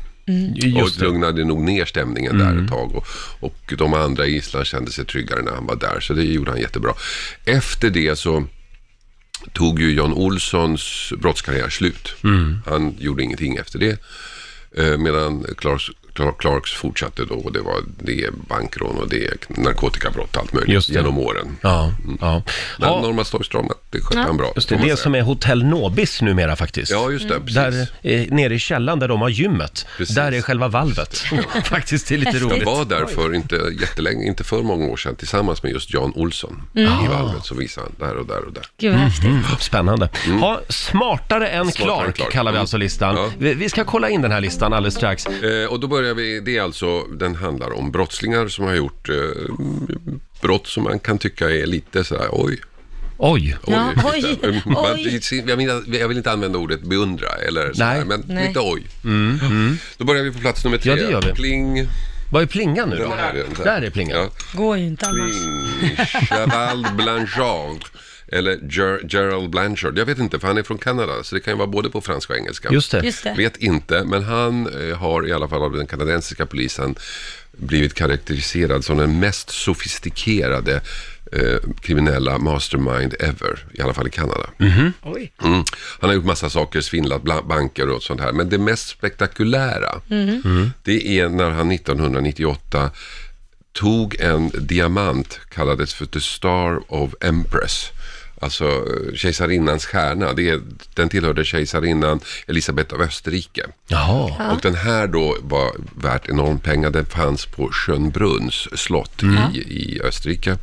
A: Just
J: och
A: det. Mm.
J: lugnade nog ner stämningen där ett tag. Och, och de andra i Island kände sig tryggare när han var där, så det gjorde han jättebra. Efter det så tog ju Jan Olssons brottskarriär slut.
A: Mm.
J: Han gjorde ingenting efter det. Eh, Medan Clarks, Clark- Clarks fortsatte då. och Det var det är bankrån och det är narkotikabrott och allt möjligt
A: Just det.
J: genom åren.
A: Ja, ja.
J: Men
A: ja
J: Norrmalmstorgsdramat, det skötte han bra.
A: just det,
J: får man
A: det
J: säga.
A: som är Hotell Nobis numera faktiskt.
J: Ja, just det. Precis.
A: Där, eh, nere i källaren där de har gymmet,
J: Precis.
A: där är själva valvet. Faktiskt, det är lite
J: Jag
A: roligt.
J: var där för inte jättelänge, inte för många år sedan tillsammans med just Jan Olsson i
A: Ah.
J: valvet. Så visade han där och där och där.
B: Gud vad häftigt.
A: Mm, spännande. Ha, smartare än
J: Smartare än
A: Clark,
J: Clark. Mm.
A: kallar vi alltså listan.
J: Ja.
A: Vi, vi ska kolla in den här listan alldeles strax.
J: Eh, och då börjar vi, det är alltså, den handlar om brottslingar som har gjort eh, brott som man kan tycka är lite sådär, oj,
A: Oj,
J: oj.
B: Ja, oj,
J: lite, eh, man-
B: oj.
J: Jag, menar, jag vill inte använda ordet beundra eller sådär,
A: Nej. Mm.
J: men
B: Nej.
J: lite oj. Då börjar vi på plats nummer tre.
A: Ja, det gör vi.
J: Pling.
A: vad är plingan nu
J: Den
A: då?
J: här är den där.
A: Där är plingan.
J: Ja.
B: Går ju inte annars.
A: Mm.
J: Pling. Cheval Blanchard. Eller Ger- Gerald Blanchard. Jag vet inte, för han är från Kanada, så det kan ju vara både på franska och engelska.
A: Just det.
B: Just det.
J: Vet inte, men han eh, har i alla fall av den kanadensiska polisen blivit karaktäriserad som den mest sofistikerade eh, kriminella mastermind ever, i alla fall i Kanada. Mm. Han har gjort massa saker, svindlat bla- banker och sånt här. Men det mest spektakulära, det är när han 1998 tog en diamant, kallades för The Star of Empress. Alltså eh, kejsarinnans stjärna. Det är, den tillhörde kejsarinnan Elisabeth av Österrike.
A: Jaha.
J: Och den här då var värt enormt pengar. Den fanns på Schönbrunns slott
B: Mm.
J: i, i Österrike.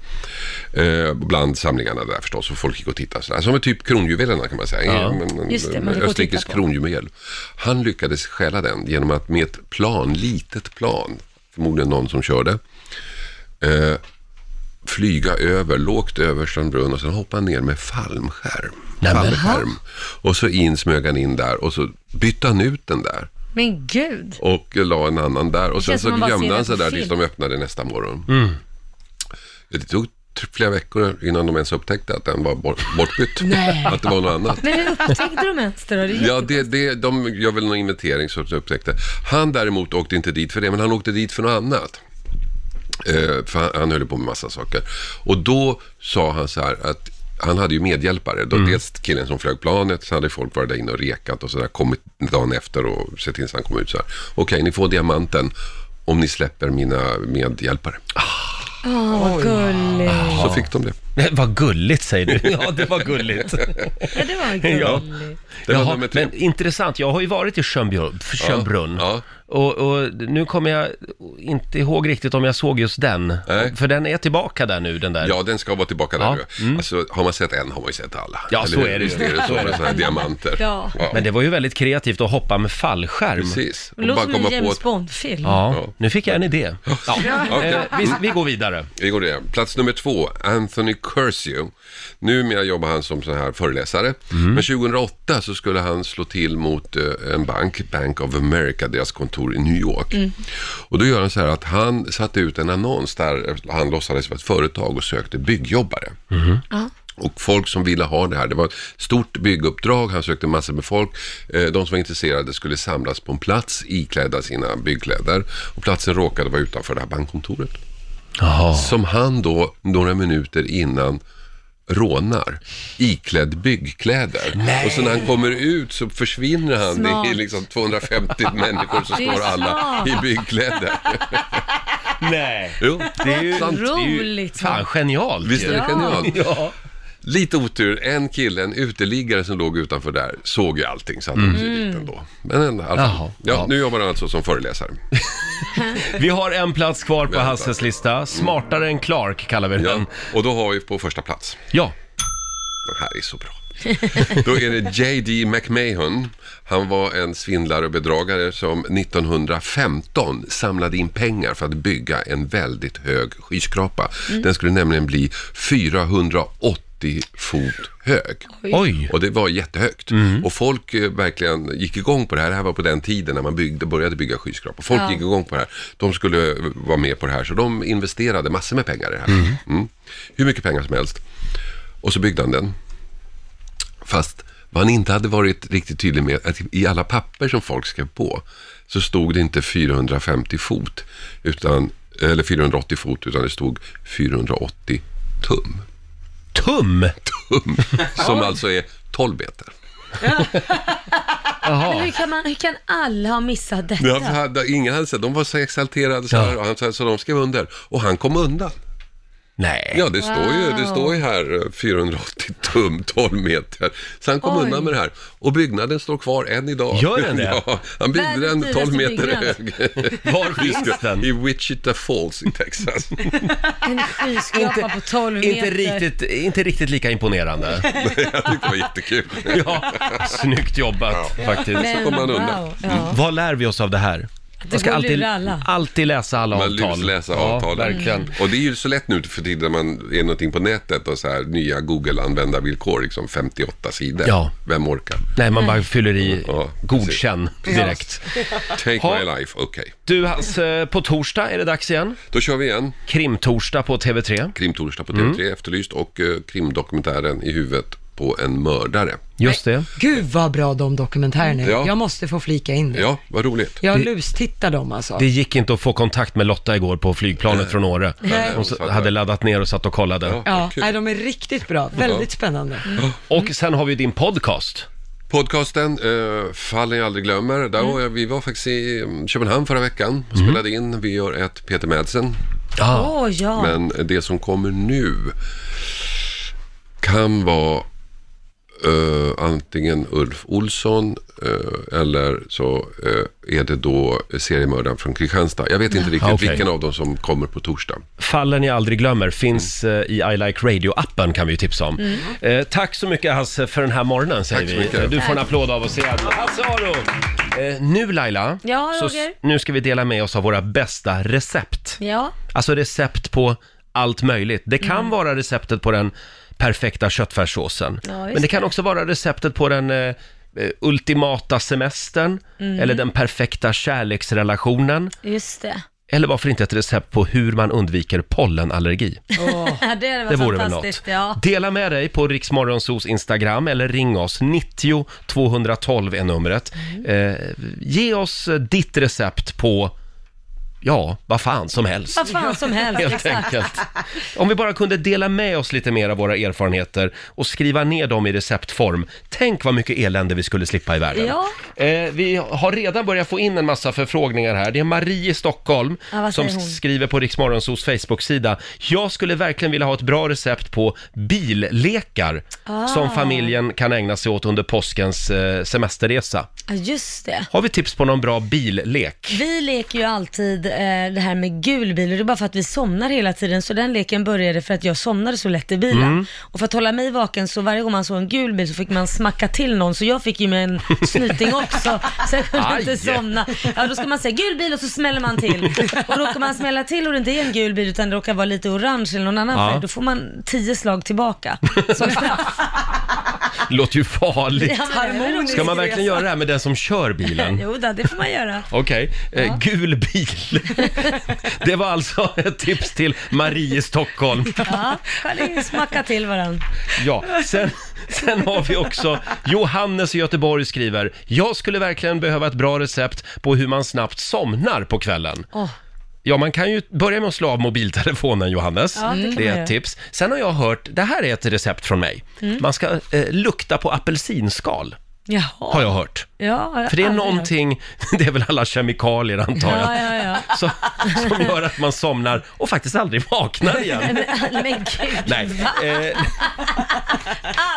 J: Eh, bland samlingarna där förstås. Och folk gick och tittade. Sådär. Som är typ kronjuvelerna kan man säga.
A: Ja.
J: En- en-
B: Just det,
J: en
B: man gick och
J: Österrikes
B: tittade på.
J: kronjuvel. Han lyckades stjäla den genom att med ett plan, litet plan, förmodligen någon som körde, eh, flyga över, lågt över Strömbrunn och sen hoppa ner med fallskärm.
A: Nej, men-
J: fallskärm. Och så in smög han in där och så bytte han ut den där
B: Men gud.
J: och la en annan där. Och sen
B: känns
J: så
B: som man bara ser
J: gömde han
B: det
J: sig
B: på
J: där
B: film.
J: tills de öppnade nästa morgon. Det tog t- flera veckor innan de ens upptäckte att den var bort, bortbytt. att det var något annat.
B: Men hur upptäckte de ens det då? Det är
J: Ja, det, det, de gör väl någon inventering så att de upptäckte. Han däremot åkte inte dit för det, men han åkte dit för något annat. Eh, för han, han höll på med massa saker. Och då sa han så här att han hade ju medhjälpare. Då, Dels killen som flög planet, så hade folk varit där inne och rekat och sådär. Kommit dagen efter och sett till så han kom ut så här. Okej, ni får diamanten om ni släpper mina medhjälpare.
B: Åh, vad gulligt.
J: Så fick de det.
A: Vad gulligt säger du. Ja, det var gulligt.
B: Ja, det var gulligt.
A: Ja.
J: Det var
A: Jaha,
J: nummer tre.
A: men intressant, jag har ju varit i Schönbjörn, Schönbrunn.
J: ja.
A: Och, och nu kommer jag inte ihåg riktigt om jag såg just den.
J: Nej.
A: För den är tillbaka där nu, den där.
J: Ja, den ska vara tillbaka där
A: Ja, Mm.
J: nu. Alltså, har man sett en har man ju sett alla.
A: Ja, så
J: hur?
A: är det ju.
J: Visst är det så med sådana här diamanter.
B: Ja.
A: Men det var ju väldigt kreativt att hoppa med fallskärm.
J: Precis.
B: Det låter som
J: Bara komma
B: en
J: på
B: James
J: ett-
B: Bond-film.
A: Ja,
J: Ja.
A: nu fick jag en idé. Ja.
J: Okej.
A: Eh, vi, vi går vidare.
J: Vi går det. Plats nummer två, Anthony Curcio. Numera jobbar han som sån här föreläsare. Men 2008 så skulle han slå till mot eh, en bank, Bank of America, deras kontor i New York. Och då gör han så här att han satte ut en annons där han låtsades vara ett företag och sökte byggjobbare. och folk som ville ha det här. Det var ett stort bygguppdrag, han sökte massor med folk. Eh, De som var intresserade skulle samlas på en plats iklädda sina byggkläder och platsen råkade vara utanför det här bankkontoret. Som han då, några minuter innan, rånar iklädd byggkläder.
K: Nej.
J: Och så när han kommer ut så försvinner han.
K: Smart.
J: Det är liksom 250 människor som
K: Det är
J: står alla i
K: smart.
J: byggkläder.
A: Nej.
J: Jo,
A: Det är ju-
J: sant.
A: Otroligt. Det är ju fan genialt
J: Visst är det
A: ju.
J: genialt?
A: Ja.
J: Lite otur, en kille, en uteliggare som låg utanför där, såg ju allting så han
A: Mm.
J: mm. dit ändå. Men ändå, alltså,
A: Jaha,
J: ja, nu jobbar han alltså som föreläsare.
A: Vi har en plats kvar på Hasses lista. Smartare än Clark kallar vi den.
J: Och då har vi på första plats.
A: Ja.
J: Den här är så bra. Då är det J.D. McMahon. Han var en svindlare och bedragare som 1915 samlade in pengar för att bygga en väldigt hög skyskrapa.
K: Mm.
J: Den skulle nämligen bli 480 fot hög.
K: Oj. Oj.
J: Och det var jättehögt.
K: Mm.
J: Och folk eh, verkligen gick igång på det här. Det här var på den tiden när man byggde, började bygga skyskrapor. Folk
K: Ja.
J: gick igång på det här. De skulle eh, vara med på det här, så de investerade massor med pengar i det här.
K: Mm.
J: Mm. Hur mycket pengar som helst. Och så byggde han den. Fast vad han inte hade varit riktigt tydlig med, att i alla papper som folk skrev på, så stod det inte 450 fot, utan, eller 480 fot, utan det stod 480 tum.
A: Tum?
J: Tum, som alltså är 12 meter.
B: Men hur kan, man, hur kan alla ha missat detta?
J: Ja, för han- ingen hade sett, de var så exalterade så, här, och han, sa- så de skrev under. Och han kom undan.
A: Nej.
J: Ja, det, står ju, det
B: Wow.
J: står ju här eh, 480 tum, 12 meter. Så han kom
B: Oj.
J: undan med det här. Och byggnaden står kvar än idag.
A: Gör den det?
J: Ja, han byggde
A: Världens
J: den 12 meter
A: dyraste
J: hög.
A: Var
J: finns den? I Wichita Falls i Texas.
B: En skyskrapa på 12 meter.
A: Inte riktigt, inte riktigt lika imponerande.
J: Jag tyckte det var jättekul.
A: Ja, snyggt jobbat faktiskt.
B: Men Så kom han undan. wow, ja.
A: Mm. Vad lär vi oss av det här?
B: Det går att lura alla.
A: alltid läsa alla Mm.
J: Man
A: avtal.
J: lusläser
A: Ja,
J: avtalen.
A: verkligen.
J: Och det är ju så lätt nu för tiden när man är någonting på nätet och så här nya Google-användarvillkor, liksom 58 sidor.
A: Ja.
J: Vem orkar?
A: Nej, man bara fyller i godkänn
J: precis.
A: direkt.
J: Take
A: Ha.
J: my life, okej.
A: Du Hasse, på torsdag är det dags igen.
J: Då kör vi igen.
A: Krimtorsdag på TV3.
J: Krimtorsdag på TV3
A: Mm.
J: Efterlyst och eh, krimdokumentären I huvudet på en mördare.
A: Just det.
C: Gud vad bra de dokumentärerna är.
J: Ja.
C: Jag måste få flika in det.
J: Ja, vad roligt.
C: Jag
A: Det-
C: lustittar dem alltså.
A: Det gick inte att få kontakt med Lotta igår på flygplanet från Åre.
C: Nej.
A: Hon s- hade laddat ner och satt och kollade.
C: Ja, nej, de är riktigt bra. Väldigt spännande.
A: Och sen har vi din podcast.
J: Podcasten eh, Fallen jag aldrig glömmer. Där
A: Mm.
J: var jag, vi var faktiskt i mm, Köpenhamn förra veckan och spelade
A: Mm.
J: in. Vi gör ett Peter Madsen.
B: Åh ja.
J: Men det som kommer nu kan vara eh, antingen Ulf Olsson eh, eller så eh, är det då seriemördaren från Kristianstad. Jag vet inte
A: Ja.
J: riktigt
A: Okej.
J: vilken av dem som kommer på torsdag.
A: Fallen jag aldrig glömmer finns eh, i I Like Radio-appen kan vi ju tipsa om.
K: Mm.
A: Eh, tack så mycket Hasse för den här morgonen säger
K: Tack så
A: vi.
K: mycket.
A: Eh, Du får en
K: Tack.
A: applåd av oss igen. Hasse Aro! Eh, nu Laila,
B: Ja,
A: så
B: Roger?
A: s- nu ska vi dela med oss av våra bästa recept.
B: Ja.
A: Alltså recept på allt möjligt. Det kan
B: Mm.
A: vara receptet på den perfekta köttfärssåsen.
B: Ja, just
A: men det kan
B: det.
A: också vara receptet på den eh, eh, ultimata semestern
B: Mm.
A: eller den perfekta kärleksrelationen.
B: Just det.
A: Eller varför inte ett recept på hur man undviker pollenallergi?
B: det, hade varit
A: Det vore väl
B: fantastiskt. Ja.
A: Dela med dig på Riksmorgonsos Instagram eller ring oss. 90 212 är numret. Eh, ge oss eh, ditt recept på, ja, vad fan som helst.
B: Vad fan som helst.
A: Helt
B: exakt.
A: enkelt. Om vi bara kunde dela med oss lite mer av våra erfarenheter och skriva ner dem i receptform. Tänk vad mycket elände vi skulle slippa i världen.
B: Ja.
A: Eh, vi har redan börjat få in en massa förfrågningar här. Det är Marie i Stockholm
B: Ja, vad
A: som
B: säger hon?
A: skriver på Riksmorgonsos Facebook-sida. Jag skulle verkligen vilja ha ett bra recept på billekar
B: Ah.
A: som familjen kan ägna sig åt under påskens eh, semesterresa.
B: Ja, just det.
A: Har vi tips på någon bra billek?
B: Vi leker ju alltid eh, det här med gul bil och det är bara för att vi somnar hela tiden. Så den leken började för att jag somnade så lätt i bilen.
A: Mm.
B: Och för att hålla mig vaken så varje gång man såg en gul bil så fick man smacka till någon. Så jag fick ju med en snyting också. Så jag kunde
K: Aj.
B: inte somna. Ja, då ska man säga gul bil och så smäller man till. Och råkar man smälla till och det inte är en gul bil utan det råkar vara lite orange eller någon annan
A: Ja.
B: färg, då får man tio slag tillbaka. Som straff.
A: Låter ju farligt.
B: Ja, men det är väl
A: Ska man
B: roligt.
A: verkligen göra det här med den som kör bilen?
B: Jo, då, det får man göra.
A: Okej, eh, gul bil. Det var alltså ett tips till Marie i Stockholm.
B: Ja, kan ni smacka till varandra.
A: Ja, sen, sen har vi också Johannes i Göteborg skriver Jag skulle verkligen behöva ett bra recept på hur man snabbt somnar på kvällen.
B: Åh.
A: Ja, man kan ju börja med att slå av mobiltelefonen, Johannes.
B: Ja, det kan
A: det,
B: man
A: är
B: göra.
A: ett tips. Sen har jag hört, det här är ett recept från mig.
B: Mm.
A: Man ska eh, lukta på apelsinskal,
B: Jaha.
A: har jag hört.
B: Ja, jag
A: För det är
B: aldrig hört.
A: någonting, det är väl alla kemikalier antar jag,
B: Ja, ja, ja.
A: Så, som gör att man somnar och faktiskt aldrig vaknar igen.
B: Men, men gud.
A: Nej, eh,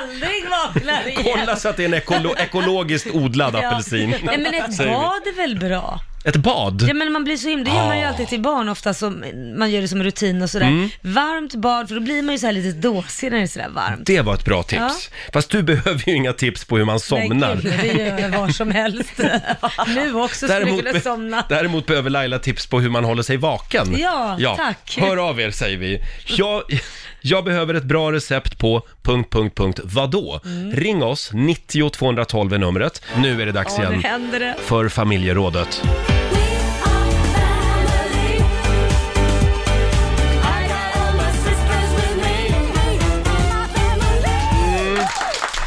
B: Aldrig vaknar igen.
A: kolla så att det är en ekolo- ekologiskt odlad
B: Ja.
A: apelsin.
B: Nej men ett
A: säger vi.
B: bad är väl bra?
A: Ett bad?
B: Ja men man blir så himla, det gör man ju
A: Ah.
B: alltid till barn ofta, som, man gör det som rutin och sådär.
A: Mm.
B: Varmt bad, för då blir man ju så här lite dåsig när det är sådär varmt.
A: Det var ett bra tips. Fast du behöver ju inga tips på hur man somnar.
B: Nej, gud, det gör jag var som helst. nu också skulle jag
A: Däremot,
B: kunna somna.
A: däremot behöver Laila tips på hur man håller sig vaken.
B: Ja, tack.
A: Hör av er säger vi. Jag, jag behöver ett bra recept på... Punkt, punkt, punkt. Vadå?
B: Mm.
A: Ring oss, 90 212 är numret. Nu är det dags
B: Ja, nu
A: igen
B: händer det.
A: för familjerådet.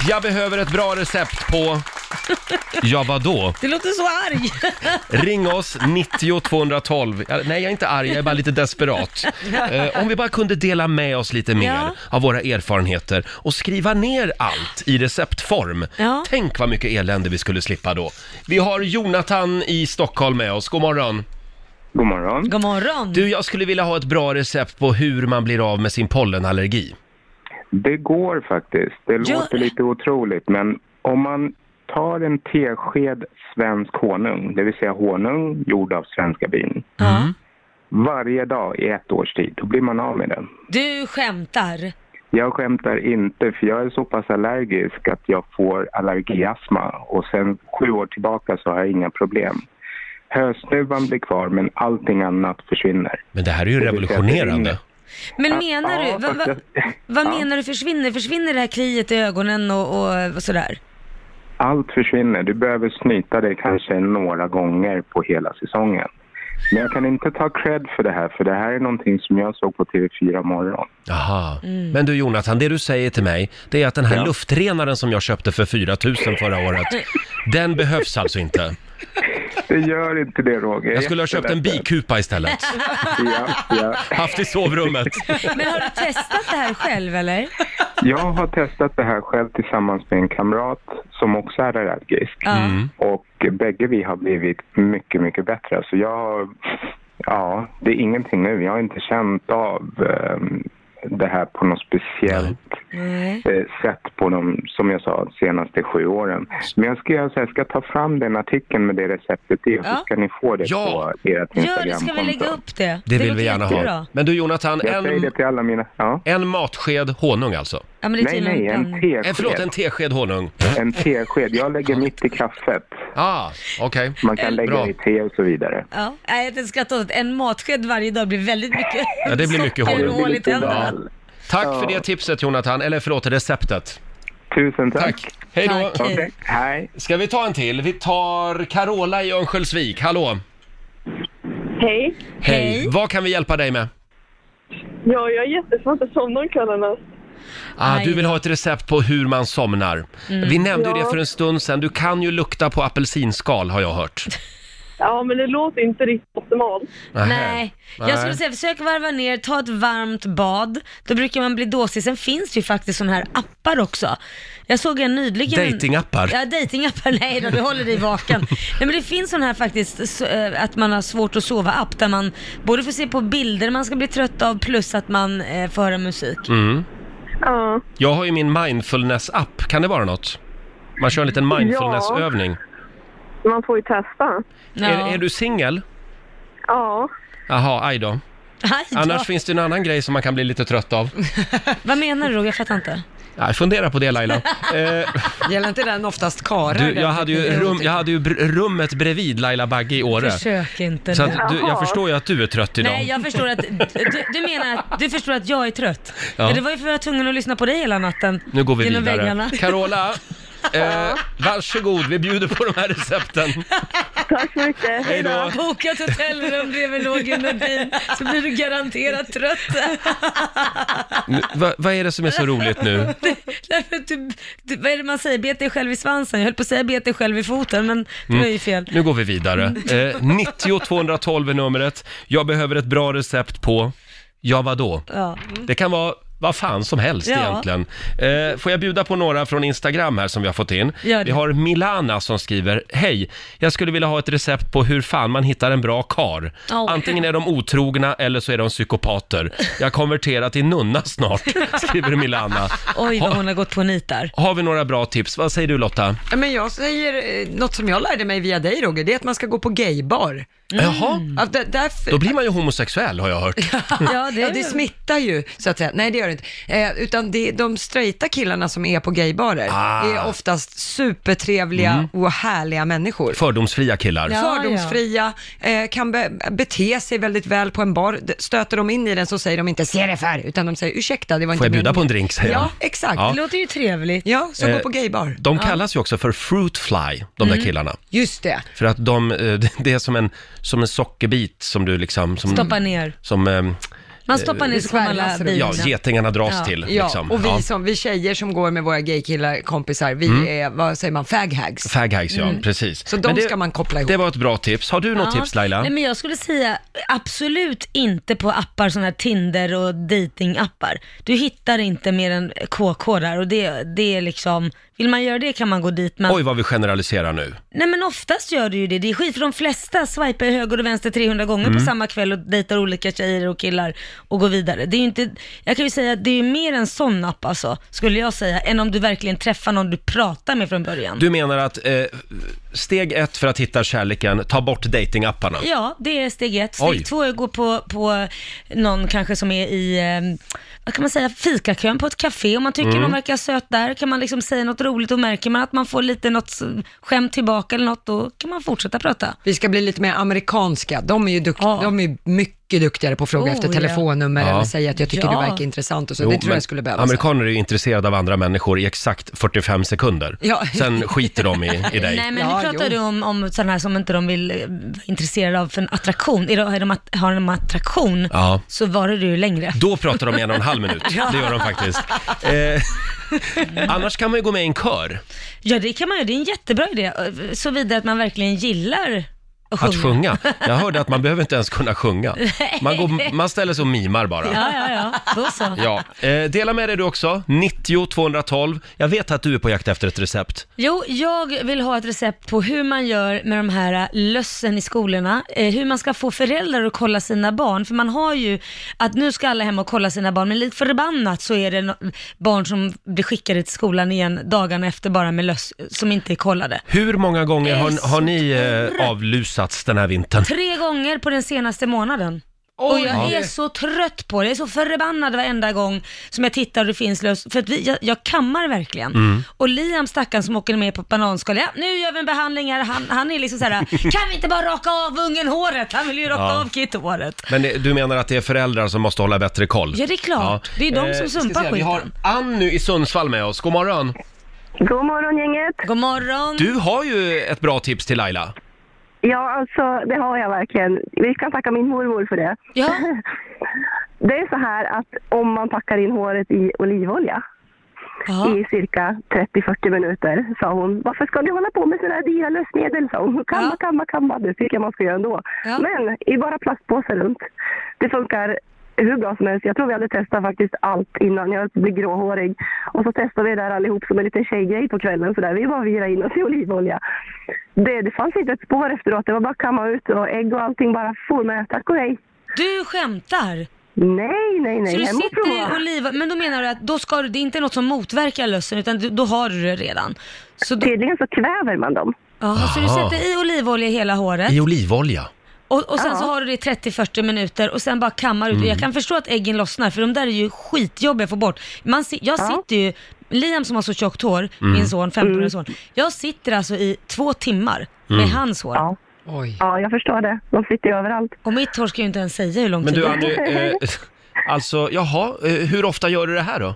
A: Jag behöver ett bra recept på... Ja, vadå?
B: Det låter så arg.
A: Ring oss, 90 212. Ja, Nej, jag är inte arg, jag är bara lite desperat. Eh, om vi bara kunde dela med oss lite mer
B: Ja.
A: av våra erfarenheter och skriva ner allt i receptform.
B: Ja.
A: Tänk vad mycket elände vi skulle slippa då. Vi har Jonathan i Stockholm med oss. God morgon.
J: God morgon.
B: God morgon.
A: Du, jag skulle vilja ha ett bra recept på hur man blir av med sin pollenallergi.
J: Det går faktiskt. Det låter lite otroligt, men om man tar en tesked svensk honung, det vill säga honung gjord av svenska bin,
A: Mm.
J: varje dag i ett års tid, då blir man av med den.
B: Du skämtar.
J: Jag skämtar inte, för jag är så pass allergisk att jag får allergiastma och sen sju år tillbaka så har jag inga problem. Hösnuvan blir kvar, men allting annat försvinner.
A: Men det här är ju revolutionerande.
B: Men menar du, vad, vad, vad menar du försvinner? Försvinner det här kliet i ögonen och, och, och sådär?
J: Allt försvinner. Du behöver snyta dig kanske några gånger på hela säsongen. Men jag kan inte ta cred för det här, för det här är någonting som jag såg på TV4 morgon.
A: Jaha. Men du Jonathan, det du säger till mig, det är att den här
J: Mm. Ja.
A: luftrenaren som jag köpte för 4 000 förra året, den behövs alltså inte.
J: Det gör inte det, Roger.
A: Jag skulle ha köpt en
J: Jättelätt.
A: bikupa istället.
J: Ja, ja.
A: Haft i sovrummet.
B: Men har du testat det här själv eller?
J: Jag har testat det här själv tillsammans med en kamrat som också är allergisk.
B: Ja. Mm.
J: Och bägge vi har blivit mycket, mycket bättre. Så jag har, ja, det är ingenting nu. Jag har inte känt av ehm, det här på något speciellt
B: Nej.
J: eh, sett på de, som jag sa, senaste sju åren. Men jag ska, göra så här, jag ska ta fram den artikeln med det receptet i och så
B: Ja.
J: ska ni få det på ert
B: Gör det, ska vi
J: Instagramkonto.
B: lägga upp det?
A: Det vill
B: låter
A: vi gärna ha.
B: jättebra.
A: Men du Jonathan,
J: Jag säger
A: en,
J: det till alla mina... Ja.
A: en matsked honung alltså?
B: Ja, men det är
J: Nej, nej,
B: tydligen
J: en tesked.
A: Eh, förlåt, en tesked honung.
J: En tesked. Jag lägger mitt i kaffet.
A: Ah, okej.
J: Man kan lägga
A: Bra.
J: i te och så vidare.
B: Ja, nej, jag tänkte skratta åt att en matsked varje dag blir väldigt mycket
A: Ja, det blir mycket
B: socker och
A: honung.
B: hål i tänderna.
A: Ja. Tack för det tipset Jonathan, eller förlåt, receptet.
J: Tusen tack.
A: Hej då!
B: Tack, hej. Okej,
J: hej.
A: Ska vi ta en till? Vi tar Carola i Örnsköldsvik, hallå!
L: Hej.
A: Vad kan vi hjälpa dig med?
L: Ja, jag är jättesvårt att somna om kvällarna.
A: Ah,
L: Aj.
A: du vill ha ett recept på hur man somnar.
L: Mm.
A: Vi nämnde ju
L: Ja.
A: det för en stund sedan. Du kan ju lukta på apelsinskal har jag hört.
L: Ja, men det låter inte riktigt optimalt.
A: Nej.
B: Nej, jag skulle säga försök varva ner, ta ett varmt bad. Då brukar man bli dåsig. Sen finns det ju faktiskt sådana här appar också. Jag såg en nyligen...
A: Datingappar?
B: Ja, datingappar. Nej då, du håller dig vaken. Nej, men det finns sådana här faktiskt, så, eh, att man har svårt att sova-app, där man både får se på bilder man ska bli trött av, plus att man eh, får höra musik.
A: Mm.
L: Ja.
A: Jag har ju min mindfulness-app. Kan det vara något? Man kör en liten mindfulness-övning.
L: Man får ju testa.
A: Är, är du singel?
L: Ja.
A: Jaha, aj då.
B: Aj då.
A: Annars finns det en annan grej som man kan bli lite trött av.
B: Vad menar du Roger? Jag fattar inte.
A: Nej, fundera på det Laila.
C: Gäller inte den oftast karar?
A: Du,
C: den
A: jag hade ju,
C: tekniken?
A: rum, jag hade ju br- rummet bredvid Laila Bagge i Åre.
B: Försök inte
A: Så
B: nu.
A: att du, jag förstår ju att du är trött idag.
B: Nej, jag förstår att du, du menar att du förstår att jag är trött.
A: Ja.
B: Ja. Det var ju för att jag var tvungen att lyssna på dig hela natten.
A: Nu går vi
B: Genom
A: vidare.
B: väggarna.
A: Carola, eh, varsågod, vi bjuder på de här recepten.
M: Tack så mycket.
B: Hej då. Boka ett hotellrum bredvid Roger Nordin så blir du garanterat trött.
A: Nu, va- vad är det som är så roligt nu?
B: Därför att du, du, vad är det man säger? Bet dig själv i svansen. Jag höll på att säga bet dig själv i foten, men det
A: Mm.
B: var ju fel.
A: Nu går vi vidare. Eh, 90 212 är numret. Jag behöver ett bra recept på, ja vadå?
B: Ja.
A: Det kan vara vad fan som helst
B: Mm. Ja.
A: egentligen. Eh, får jag bjuda på några från Instagram här som vi har fått in?
B: Gör det.
A: Vi har Milana som skriver, hej, jag skulle vilja ha ett recept på hur fan man hittar en bra kar.
B: Oh.
A: Antingen är de otrogna eller så är de psykopater. Jag konverterar till nunna snart, skriver Milana.
B: Oj, vad hon har gått på nit där.
A: Har vi några bra tips? Vad säger du Lotta?
B: Mm.
C: Ja, Men jag säger, eh, något som jag lärde mig via dig Roger, det är att man ska gå på gaybar.
A: Jaha.
C: Ja, där, därför,
A: Mm. Då blir man ju homosexuell har jag hört.
C: ja, det, smittar ju, så att säga. Nej, det gör det inte. Eh, utan det, de straighta killarna som är på gaybarer
A: Ah.
C: är oftast supertrevliga
A: Mm.
C: och härliga människor.
A: Fördomsfria killar.
C: Fördomsfria, eh, kan be, bete sig väldigt väl på en bar. D- Stöter de in i den så säger de inte ”se dig för”, utan de säger ”ursäkta, det var inte
A: Får jag bjuda
C: meningen."
A: på en drink, säger
C: Ja,
A: de.
C: exakt.
A: Ja. Det
B: låter ju trevligt.
C: Ja, så gå
A: Eh,
C: på gaybar.
A: De
C: Ja.
A: kallas ju också för fruit fly, de där
C: Mm.
A: killarna.
C: Just det.
A: För att de, eh, det är som en, som en sockerbit som du liksom... Som,
B: Stoppa ner.
A: Som, eh,
B: Man stoppar
A: eh,
B: ner så kommer alla bilarna.
A: Ja, getingarna dras till.
C: Ja,
A: Liksom.
C: och vi,
A: Ja.
C: som, vi tjejer som går med våra gaykillar kompisar, vi
A: Mm.
C: är, vad säger man, faghags.
A: Faghags, ja.
C: Mm.
A: Precis.
C: Så de
A: Men det,
C: ska man koppla ihop.
A: Det var ett bra tips. Har du något
B: Ja.
A: tips Laila?
B: Nej, men jag skulle säga absolut inte på appar som här Tinder och datingappar. Du hittar inte mer än KK där och det, det är liksom, vill man göra det kan man gå dit men
A: Oj, vad vi generaliserar nu.
B: Nej men oftast gör du ju det, det är skit för de flesta swipar ju höger och vänster 300 gånger på
A: Mm.
B: samma kväll och dejtar olika tjejer och killar och går vidare. Det är ju inte, jag kan ju säga att det är ju mer en sån app alltså, skulle jag säga, än om du verkligen träffar någon du pratar med från början.
A: Du menar att eh, steg ett för att hitta kärleken, ta bort datingapparna.
B: Ja, det är steg ett. Steg
A: Oj.
B: två är att gå på, på någon kanske som är i, eh, vad kan man säga, fikakön på ett café. Om man tycker
A: Mm.
B: någon verkar söt där kan man liksom säga något roligt och märker man att man får lite något s- skämt tillbaka eller något, då kan man fortsätta prata.
C: Vi ska bli lite mer amerikanska. De är ju dukt- de är mycket duktigare på att fråga
B: Oh,
C: efter
B: ja.
C: telefonnummer
A: Ja.
C: eller säga att jag tycker
B: Ja.
C: du verkar intressant och så.
A: Jo,
C: det tror
A: men
C: jag skulle behövas.
A: Amerikaner är ju intresserade av andra människor i exakt 45 sekunder.
C: Ja.
A: Sen skiter de i, i dig.
B: Nej, men
C: Ja,
B: nu pratar
C: jo.
B: du om, om sådana här som inte de vill eh, vara intresserade av för en attraktion. Är de, är de att, har de attraktion
A: Ja.
B: så varar du ju längre.
A: Då pratar de i en och en halv minut.
B: Ja.
A: Det gör de faktiskt. Eh, annars kan man ju gå med i en kör.
B: Ja, det kan man göra. Det är en jättebra idé. eh, Såvida att man verkligen gillar att sjunga.
A: Att sjunga. Jag hörde att man behöver inte ens kunna sjunga. Man, går, man ställer sig och mimar bara.
B: Ja, ja, ja. Då så.
A: Ja. Eh, dela med dig du också, 90 212. Jag vet att du är på jakt efter ett recept.
B: Jo, jag vill ha ett recept på hur man gör med de här ä, lössen i skolorna. Eh, hur man ska få föräldrar att kolla sina barn. För man har ju att nu ska alla hem och kolla sina barn, men likt förbannat så är det no- barn som blir skickade till skolan igen dagarna efter bara med löss eh, som inte är kollade.
A: Hur många gånger
B: Det är
A: har,
B: så
A: har ni eh, avlusats den här vintern?
B: Tre gånger på den senaste månaden. och jag
A: Oj.
B: är så trött på det. Jag är så förbannad varenda gång som jag tittar och det finns löss. För att vi, jag, jag kammar verkligen.
A: Mm.
B: Och Liam stackaren som åker med på ett bananskal, ja nu gör vi en behandling här. Han, han är liksom så här: kan vi inte bara raka av ungen håret? Han vill ju raka
A: Ja.
B: av Kit håret.
A: Men det, du menar att det är föräldrar som måste hålla bättre koll?
B: Ja, det är klart. Det är de som
A: vi Eh, ska
B: sumpar
A: se, Vi har
B: skiten.
A: Annu i Sundsvall med oss. God morgon.
B: God morgon gänget. God morgon.
A: Du har ju ett bra tips till Laila.
M: Ja, alltså det har jag verkligen. Vi kan tacka min mormor för det.
B: Ja.
M: Det är så här att om man packar in håret i olivolja i cirka 30-40 minuter, sa hon. Varför ska ni hålla på med sådana här dyra lösmedel, sa hon. Kamma, kamma, kamma. Det tycker jag man ska göra ändå. Men i bara plastpåsar runt. Det funkar hur bra som helst. Jag tror vi hade testat faktiskt allt innan. Jag höll på att bli gråhårig. Och så testade vi det där allihop som en liten tjejgrej på kvällen. Så där. Vi bara virade in oss i olivolja. Det, det fanns inte ett spår efteråt. Det var bara att kamma ut och ägg och allting bara for med. Tack och hej.
B: Du skämtar?
M: Nej, nej, nej.
B: Så du
M: Hem och
B: sitter
M: prova.
B: i oliv, men då menar du att då ska du, det är inte något som motverkar lössen utan du, då har du det redan. Så då,
M: Tydligen så kväver man dem.
B: Ja, så du
A: Aha.
B: sätter i olivolja i hela håret.
A: I olivolja.
B: Och, och sen så har du det i 30-40 minuter och sen bara kammar ut.
A: Mm.
B: Jag kan förstå att äggen lossnar för de där är ju skitjobbiga att få bort. Man, si- jag sitter ju, Liam som har så tjockt hår,
M: Mm.
B: min son, 15-årig son. Jag sitter alltså i två timmar med
A: Mm.
B: hans hår.
M: Ja, jag förstår det. De sitter ju överallt.
B: Och mitt hår ska ju inte ens säga hur lång
A: Men
B: tid
A: du
B: det
A: Annu,
B: är.
A: eh, alltså jaha, eh, hur ofta gör du det här då?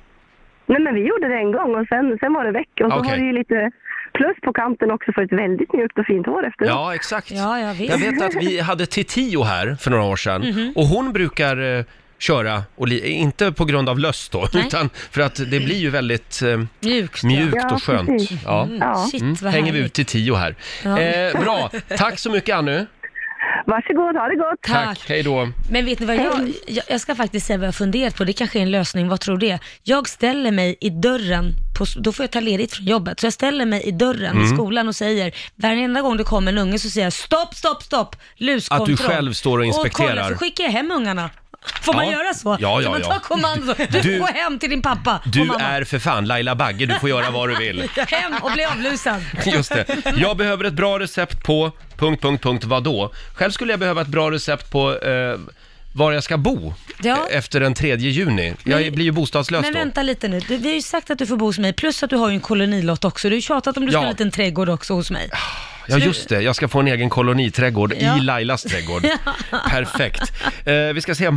M: Nej, men vi gjorde det en gång och sen, sen var det väck. Och så
A: Ah, Okej.
M: har det ju lite Plus på kanten också för ett väldigt mjukt och fint hår efteråt.
A: Ja, exakt.
B: Ja, jag vet.
A: Jag vet att vi hade Titio här för några år sedan
B: Mhm.
A: och hon brukar eh, köra, och li- inte på grund av löst då,
B: Nej.
A: utan för att det blir ju väldigt eh,
B: Mjukt, ja.
A: mjukt
B: Ja,
A: och skönt.
B: precis. Mm, shit, vad
A: Hänger vi
B: härligt.
A: ut till tio här.
B: Ja.
A: Eh, bra, tack så mycket Annu.
M: Varsågod, ha det gott.
A: Tack,
B: Tack.
A: hej då.
B: Men vet ni vad, jag, jag, jag ska faktiskt säga vad jag funderat på, det kanske är en lösning, vad tror du det? Jag ställer mig i dörren, på, då får jag ta ledigt från jobbet, så jag ställer mig i dörren i
A: Mm.
B: skolan och säger, varenda gång det kommer en unge så säger jag stopp, stopp, stopp, luskontroll.
A: Att du själv står och
B: Och
A: inspekterar.
B: kolla, så skickar jag hem ungarna. Får man
A: Ja.
B: göra så?
A: Ja, ja,
B: Kan man
A: ja.
B: ta kommando? Du,
A: Du-
B: får gå hem till din pappa och
A: Du
B: mamma.
A: är för fan Laila Bagge, du får göra vad du vill.
B: Hem och bli avlusad.
A: Just det. Jag behöver ett bra recept på... Punkt, punkt, punkt, vadå? Själv skulle jag behöva ett bra recept på eh, var jag ska bo
B: Ja.
A: eh, efter den 3 juni. Jag
B: Men-
A: blir ju bostadslös
B: Men
A: då.
B: vänta lite nu, du, vi har ju sagt att du får bo hos mig, plus att du har ju en kolonilott också. Du har ju tjatat om du ska
A: Ja.
B: ha en liten trädgård också hos mig.
A: Ja, just det. Jag ska få en egen koloniträdgård
B: Ja.
A: i Lailas trädgård. Perfekt. Eh, vi ska se. Eh,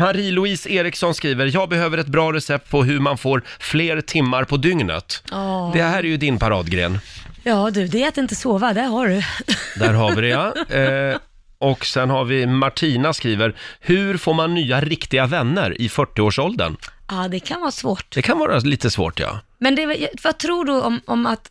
A: Marie-Louise Eriksson skriver, jag behöver ett bra recept på hur man får fler timmar på dygnet.
B: Ja.
A: Det här är ju din paradgren.
B: Ja du, det är att inte sova, där har du.
A: Där har vi det ja. Eh, och sen har vi Martina skriver, hur får man nya riktiga vänner i 40-årsåldern?
B: Ja, det kan vara svårt.
A: Det kan vara lite svårt ja.
B: Men det, vad tror du om, om att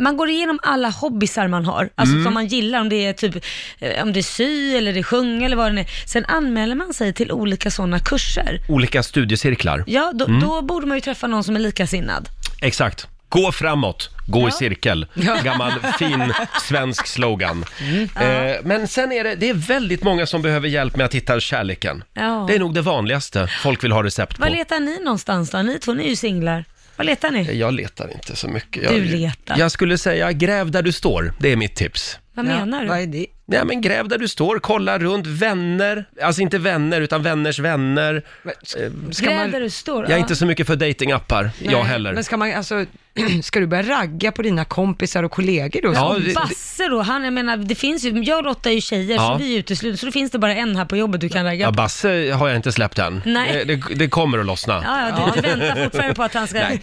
B: man går igenom alla hobbysar man har, alltså
A: Mm.
B: som man gillar, om det är typ eh, om det är sy eller det är sjunga eller vad det är. Sen anmäler man sig till olika sådana kurser.
A: Olika studiecirklar.
B: Ja, då,
A: Mm.
B: då borde man ju träffa någon som är likasinnad.
A: Exakt. Gå framåt, gå i cirkel.
B: Ja. Mm.
A: Gammal fin svensk slogan. Eh, men sen är det, det är väldigt många som behöver hjälp med att hitta kärleken.
B: Ja.
A: Det är nog det vanligaste folk vill ha recept på.
B: Vad letar ni någonstans då? Ni två, ni är ju singlar. Vad letar ni?
A: Jag letar inte så mycket. Jag,
B: Du letar.
A: Jag skulle säga gräv där du står, det är mitt tips.
B: Vad menar du? Vad är det?
A: Nej men gräv där du står, kolla runt, vänner, alltså inte vänner utan vänners vänner. Eh,
B: Gräv där du står.
A: Jag är inte så mycket för datingappar, jag heller.
C: Men ska, man, alltså, ska du börja ragga på dina kompisar och kollegor då?
A: Ja,
B: Och Basse då, han, jag menar, det finns ju, jag råttar ju tjejer
A: Ja.
B: så vi är uteslutna, så då finns det bara en här på jobbet du kan ragga
A: Ja,
B: på.
A: Basse har jag inte släppt än. Det,
B: Nej.
A: det, det kommer att lossna.
B: Ja, ja, du, du väntar fortfarande på att han ska...
A: Nej,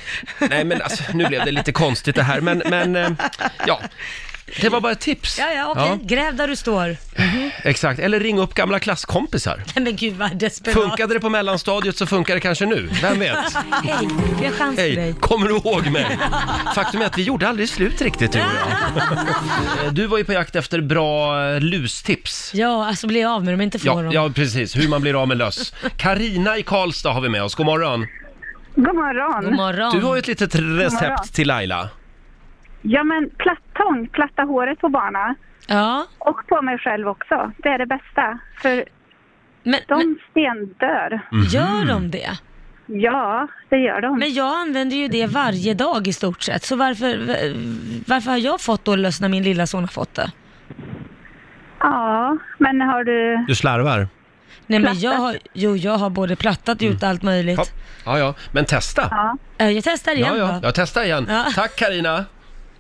A: nej men alltså, nu blev det lite konstigt det här, men, men eh, ja. Det var bara ett tips.
B: Ja, ja, okej. Gräv där du står. Mhm.
A: Exakt, eller ring upp gamla klasskompisar.
B: Nej, men gud vad desperat.
A: Funkade det på mellanstadiet så funkar det kanske nu, vem vet?
B: Hej, vi har chans för
A: Hej,
B: dig.
A: kommer du ihåg mig? Faktum är att vi gjorde aldrig slut riktigt, du och jag. Eh, Du var ju på jakt efter bra eh, lustips.
B: Ja, alltså bli av med dem, inte få
A: Ja,
B: dem.
A: ja, precis. Hur man blir av med löss. Karina i Karlstad har vi med oss. God morgon.
I: God morgon.
B: God morgon.
A: Du har ju ett litet
I: God morgon.
A: recept till Laila.
I: Ja, men plattång, platta håret på barna.
B: Ja.
I: Och på mig själv också. Det är det bästa. För de stendör.
A: Mhm.
B: Gör de det?
I: Ja, det gör de.
B: Men jag använder ju det varje dag i stort sett, så varför, varför har jag fått då löss när min lilla son har fått det?
I: Ja, men har du...
A: Du slarvar.
B: Nej men jag har, jo jag har både plattat, gjort allt möjligt.
A: Mm. Ja, ja, men testa.
I: Ja.
B: Eh, Jag testar igen
A: Ja, ja,
B: då.
A: jag testar igen.
B: Ja.
A: Tack Karina.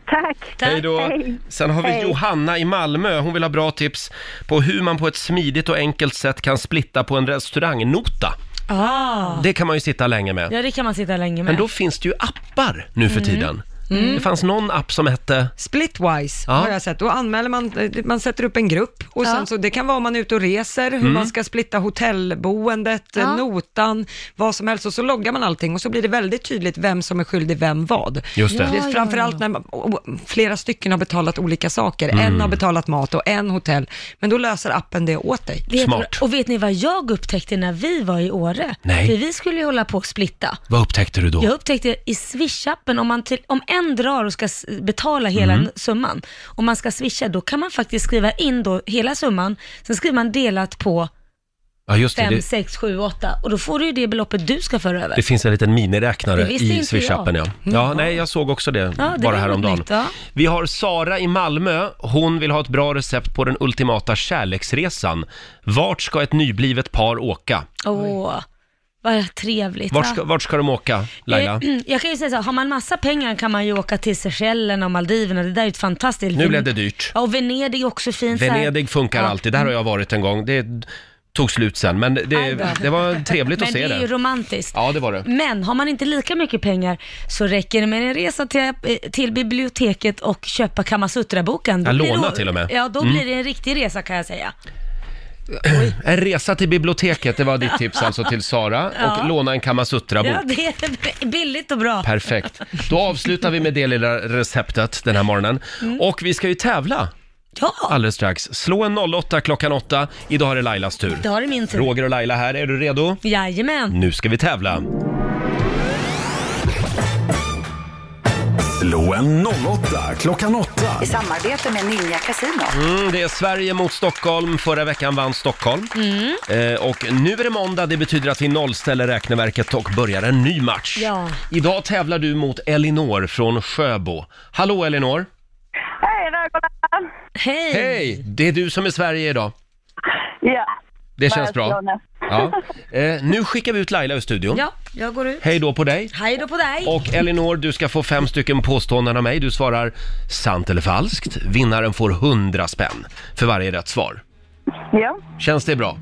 I: Tack.
A: Hej då. Sen har vi
B: Hej.
A: Johanna i Malmö. Hon vill ha bra tips på hur man på ett smidigt och enkelt sätt kan splitta på en restaurangnota.
B: Ah.
A: Det kan man ju sitta länge med.
B: Ja det kan man sitta länge med.
A: Men då finns det ju appar nu för
C: Mm.
A: tiden.
C: Mm.
A: Det fanns någon app som hette...
C: Splitwise
A: Ja.
C: har jag sett. Då anmäler man, man sätter upp en grupp och sen så, det kan vara om man är ute och reser, hur
A: Mm.
C: man ska splitta hotellboendet,
B: Ja.
C: notan, vad som helst och så loggar man allting och så blir det väldigt tydligt vem som är skyldig vem vad.
A: Just det. Ja,
C: är
A: ja,
C: framförallt när man, och- och flera stycken har betalat olika saker.
A: Mm.
C: En har betalat mat och en hotell, men då löser appen det åt dig.
B: Vet Ni, och vet ni vad jag upptäckte när vi var i Åre?
A: Nej.
B: För vi skulle ju hålla på att splitta.
A: Vad upptäckte du då?
B: Jag upptäckte i swishappen, om, man till, om en drar och ska s- betala hela
A: Mm.
B: summan, om man ska swisha, då kan man faktiskt skriva in då hela summan, sen skriver man delat på
A: Ja, just det.
B: 5,
A: Det,
B: 6, 7, 8 och då får du ju det beloppet du ska föra över.
A: det finns en liten
B: Det
A: miniräknare
B: visste inte
A: i
B: jag. Mm.
A: Swish-appen. Ja. ja, nej, jag såg också det,
B: Ja, det
A: bara
B: var
A: häromdagen.
B: nytt, ja.
A: Vi har Sara i Malmö. Hon vill ha ett bra recept på den ultimata kärleksresan. Vart ska ett nyblivet par åka?
B: Åh, vad trevligt.
A: Vart
B: va?
A: ska, vart ska de åka, Laila?
B: Eh, Jag kan ju säga så här, har man massa pengar kan man ju åka till Seychellerna och Maldiverna, det där är ju ett fantastiskt...
A: Nu blev det dyrt.
B: Ja, och Venedig är också fint. så här.
A: Venedig funkar
B: Ja.
A: alltid, där har jag varit en gång. Det är tog slut sen, men det, det var trevligt att
B: Men
A: se
B: det är ju
A: det.
B: romantiskt.
A: Ja, det var det.
B: Men har man inte lika mycket pengar så räcker det med en resa till, eh, till biblioteket och köpa Kamasutra-boken. Då
A: Ja,
B: blir
A: låna
B: det-
A: till och med.
B: Ja, då
A: Mm.
B: blir det en riktig resa kan jag säga.
A: En resa till biblioteket, det var ditt tips alltså till Sara.
B: Ja.
A: Och låna en Kamasutra-bok.
B: Ja, det är billigt och bra.
A: Perfekt. Då avslutar vi med det lilla receptet den här morgonen.
B: Mm.
A: Och vi ska ju tävla.
B: Ja.
A: Alldeles strax. Slå en 08 klockan 8. Idag är det Lailas tur.
B: Då har det min tur.
A: Roger och Laila här, är du redo?
B: Jajamän.
A: Nu ska vi tävla.
D: Slå en 08 klockan 8.
G: I samarbete med Ninja Casino.
A: Mm, det är Sverige mot Stockholm. Förra veckan vann Stockholm.
G: Mm.
A: Eh, och nu är det måndag, det betyder att vi nollställer räkneverket och börjar en ny match.
B: Ja.
A: Idag tävlar du mot Elinor från Sjöbo. Hallå Elinor!
N: Hej välkomna!
B: Hej!
A: Hej! Det är du som är Sverige idag.
N: Ja.
A: Det känns bra.
N: Välkomna.
A: Ja. Eh, nu skickar vi ut Laila ur studion.
B: Ja, jag går ut.
A: Hej då på dig!
B: Hej då på dig.
A: Och Elinor, du ska få fem stycken påståenden av mig. Du svarar sant eller falskt. Vinnaren får 100 spänn för varje rätt svar.
N: Ja.
A: Känns det bra?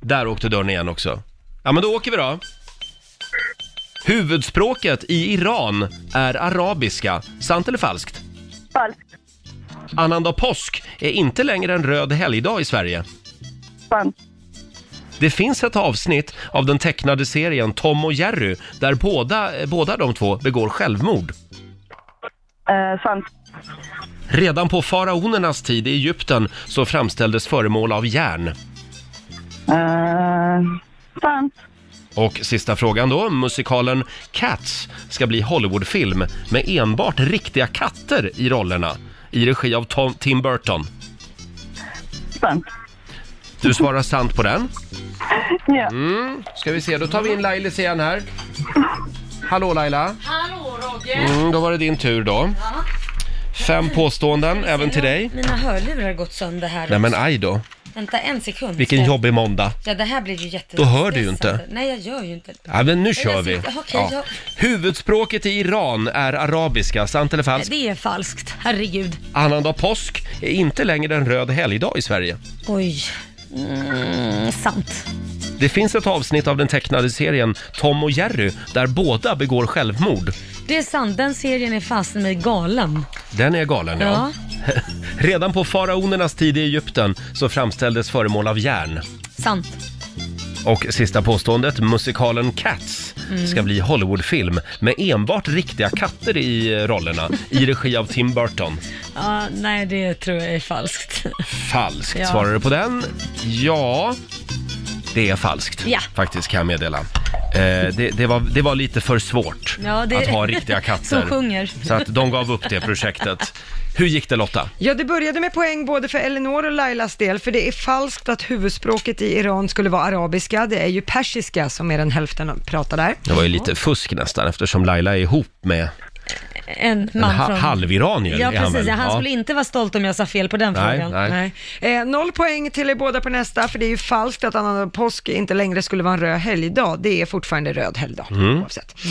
A: Där åkte dörren igen också. Ja, men då åker vi då. Huvudspråket i Iran är arabiska. Sant eller falskt?
N: Falskt.
A: Annandag påsk är inte längre en röd helgdag i Sverige.
N: Sant.
A: Det finns ett avsnitt av den tecknade serien Tom och Jerry där båda, eh, båda de två begår självmord.
N: Eh, sant.
A: Redan på faraonernas tid i Egypten så framställdes föremål av järn.
N: Eh, sant.
A: Och sista frågan då, musikalen Cats ska bli Hollywoodfilm med enbart riktiga katter i rollerna i regi av Tom, Tim Burton.
N: Sant.
A: Du svarar sant på den.
N: Ja.
A: Mm, ska vi se, då tar vi in Lailis igen här. Hallå Laila!
B: Hallå Roger!
A: Mm, då var det din tur då. Fem påståenden, även till dig.
B: Mina hörlurar har gått sönder här
A: Nej men
B: också.
A: aj då,
B: Vänta en sekund.
A: vilken jobbig måndag.
B: Ja, det här blir ju jätte...
A: Då hör du ju inte.
B: Nej, jag gör ju inte det.
A: Ja, men nu
B: Men
A: kör
B: jag
A: vi.
B: sitter- okej,
A: Ja.
B: jag-
A: Huvudspråket i Iran är arabiska, sant eller falskt?
B: Det är falskt, herregud.
A: Annandag påsk är inte längre en röd helgdag i Sverige.
B: Oj. Mm, sant.
A: Det finns ett avsnitt av den tecknade serien Tom och Jerry där båda begår självmord.
B: Det är sant, den serien är fast med galen.
A: Den är galen, ja. Redan på faraonernas tid i Egypten så framställdes föremål av järn.
B: Sant.
A: Och sista påståendet, musikalen Cats ska
B: Mm.
A: bli Hollywoodfilm med enbart riktiga katter i eh, rollerna i regi av Tim Burton.
B: Ja, nej, det tror jag är falskt.
A: Falskt
B: Ja.
A: svarar du på den. Ja, det är falskt
B: Ja.
A: faktiskt kan jag meddela. Eh, det, det, var, det var lite för svårt
B: Ja, det-
A: att ha riktiga katter.
B: Som sjunger.
A: Så att de gav upp det projektet. Hur gick det Lotta?
C: Ja, det började med poäng både för Elinor och Lailas del, för det är falskt att huvudspråket i Iran skulle vara arabiska. Det är ju persiska som mer än hälften pratar där.
A: Det var ju lite fusk nästan eftersom Laila är ihop med
B: En
A: en
B: man
A: ha-
B: från...
A: halviranier.
B: Ja,
A: är han
B: precis.
A: väl?
B: Ja, han
A: Ja.
B: skulle inte vara stolt om jag sa fel på den
A: Nej,
B: frågan.
A: nej.
C: Nej. Eh, noll poäng till er båda på nästa, för det är ju falskt att annandag påsk inte längre skulle vara en röd helgdag. Det är fortfarande röd helgdag.
A: Mm.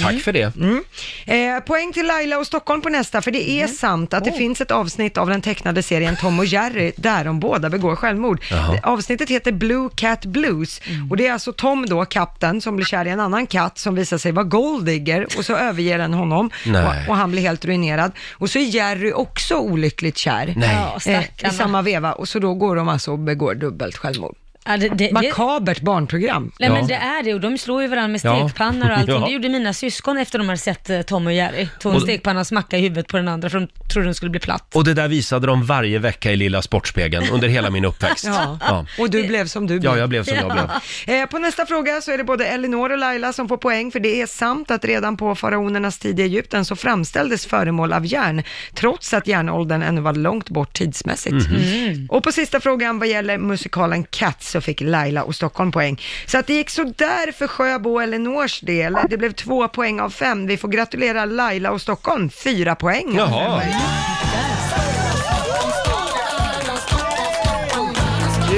A: Tack för det.
C: Mm. Eh, poäng till Laila och Stockholm på nästa, för det är sant att det finns ett avsnitt av den tecknade serien Tom och Jerry där de båda begår självmord.
N: Jaha.
C: Det- Avsnittet heter Blue Cat Blues och det är alltså Tom då, kapten, som blir kär i en annan katt som visar sig vara golddigger och så överger den honom
N: Nej.
C: och, och han blir helt ruinerad. Och så är Jerry också olyckligt kär
N: Nej. Ja,
C: Eh, i
N: stackarna.
C: samma veva och så då går de alltså och begår dubbelt självmord.
B: Ja, det- Eh, det-
C: Makabert barnprogram.
B: Nej men det är det och de slår ju varandra med
C: Ja.
B: stekpannor och allting.
C: Ja.
B: Det gjorde mina syskon efter de hade sett eh, Tom och Jerry. Tog en
A: Och-
B: stekpanna och smackade i huvudet på den andra för de trodde den skulle bli platt.
A: Och det där visade de varje vecka i Lilla Sportspegeln under hela min uppväxt.
C: Ja. Och du blev som du
A: Ja, jag blev som jag blev.
C: Eh, På nästa fråga så är det både Elinor och Laila som får poäng, för det är sant att redan på faraonernas tid i Egypten så framställdes föremål av järn, trots att järnåldern ännu var långt bort tidsmässigt.
N: Mhm.
C: Och på sista frågan vad gäller musikalen Cats så fick Laila och Stockholm poäng. Så att det gick sådär för Sjöbo och Elinors del. Det blev två poäng av fem. Vi får gratulera Laila och Stockholm, fyra poäng.
A: Jaha.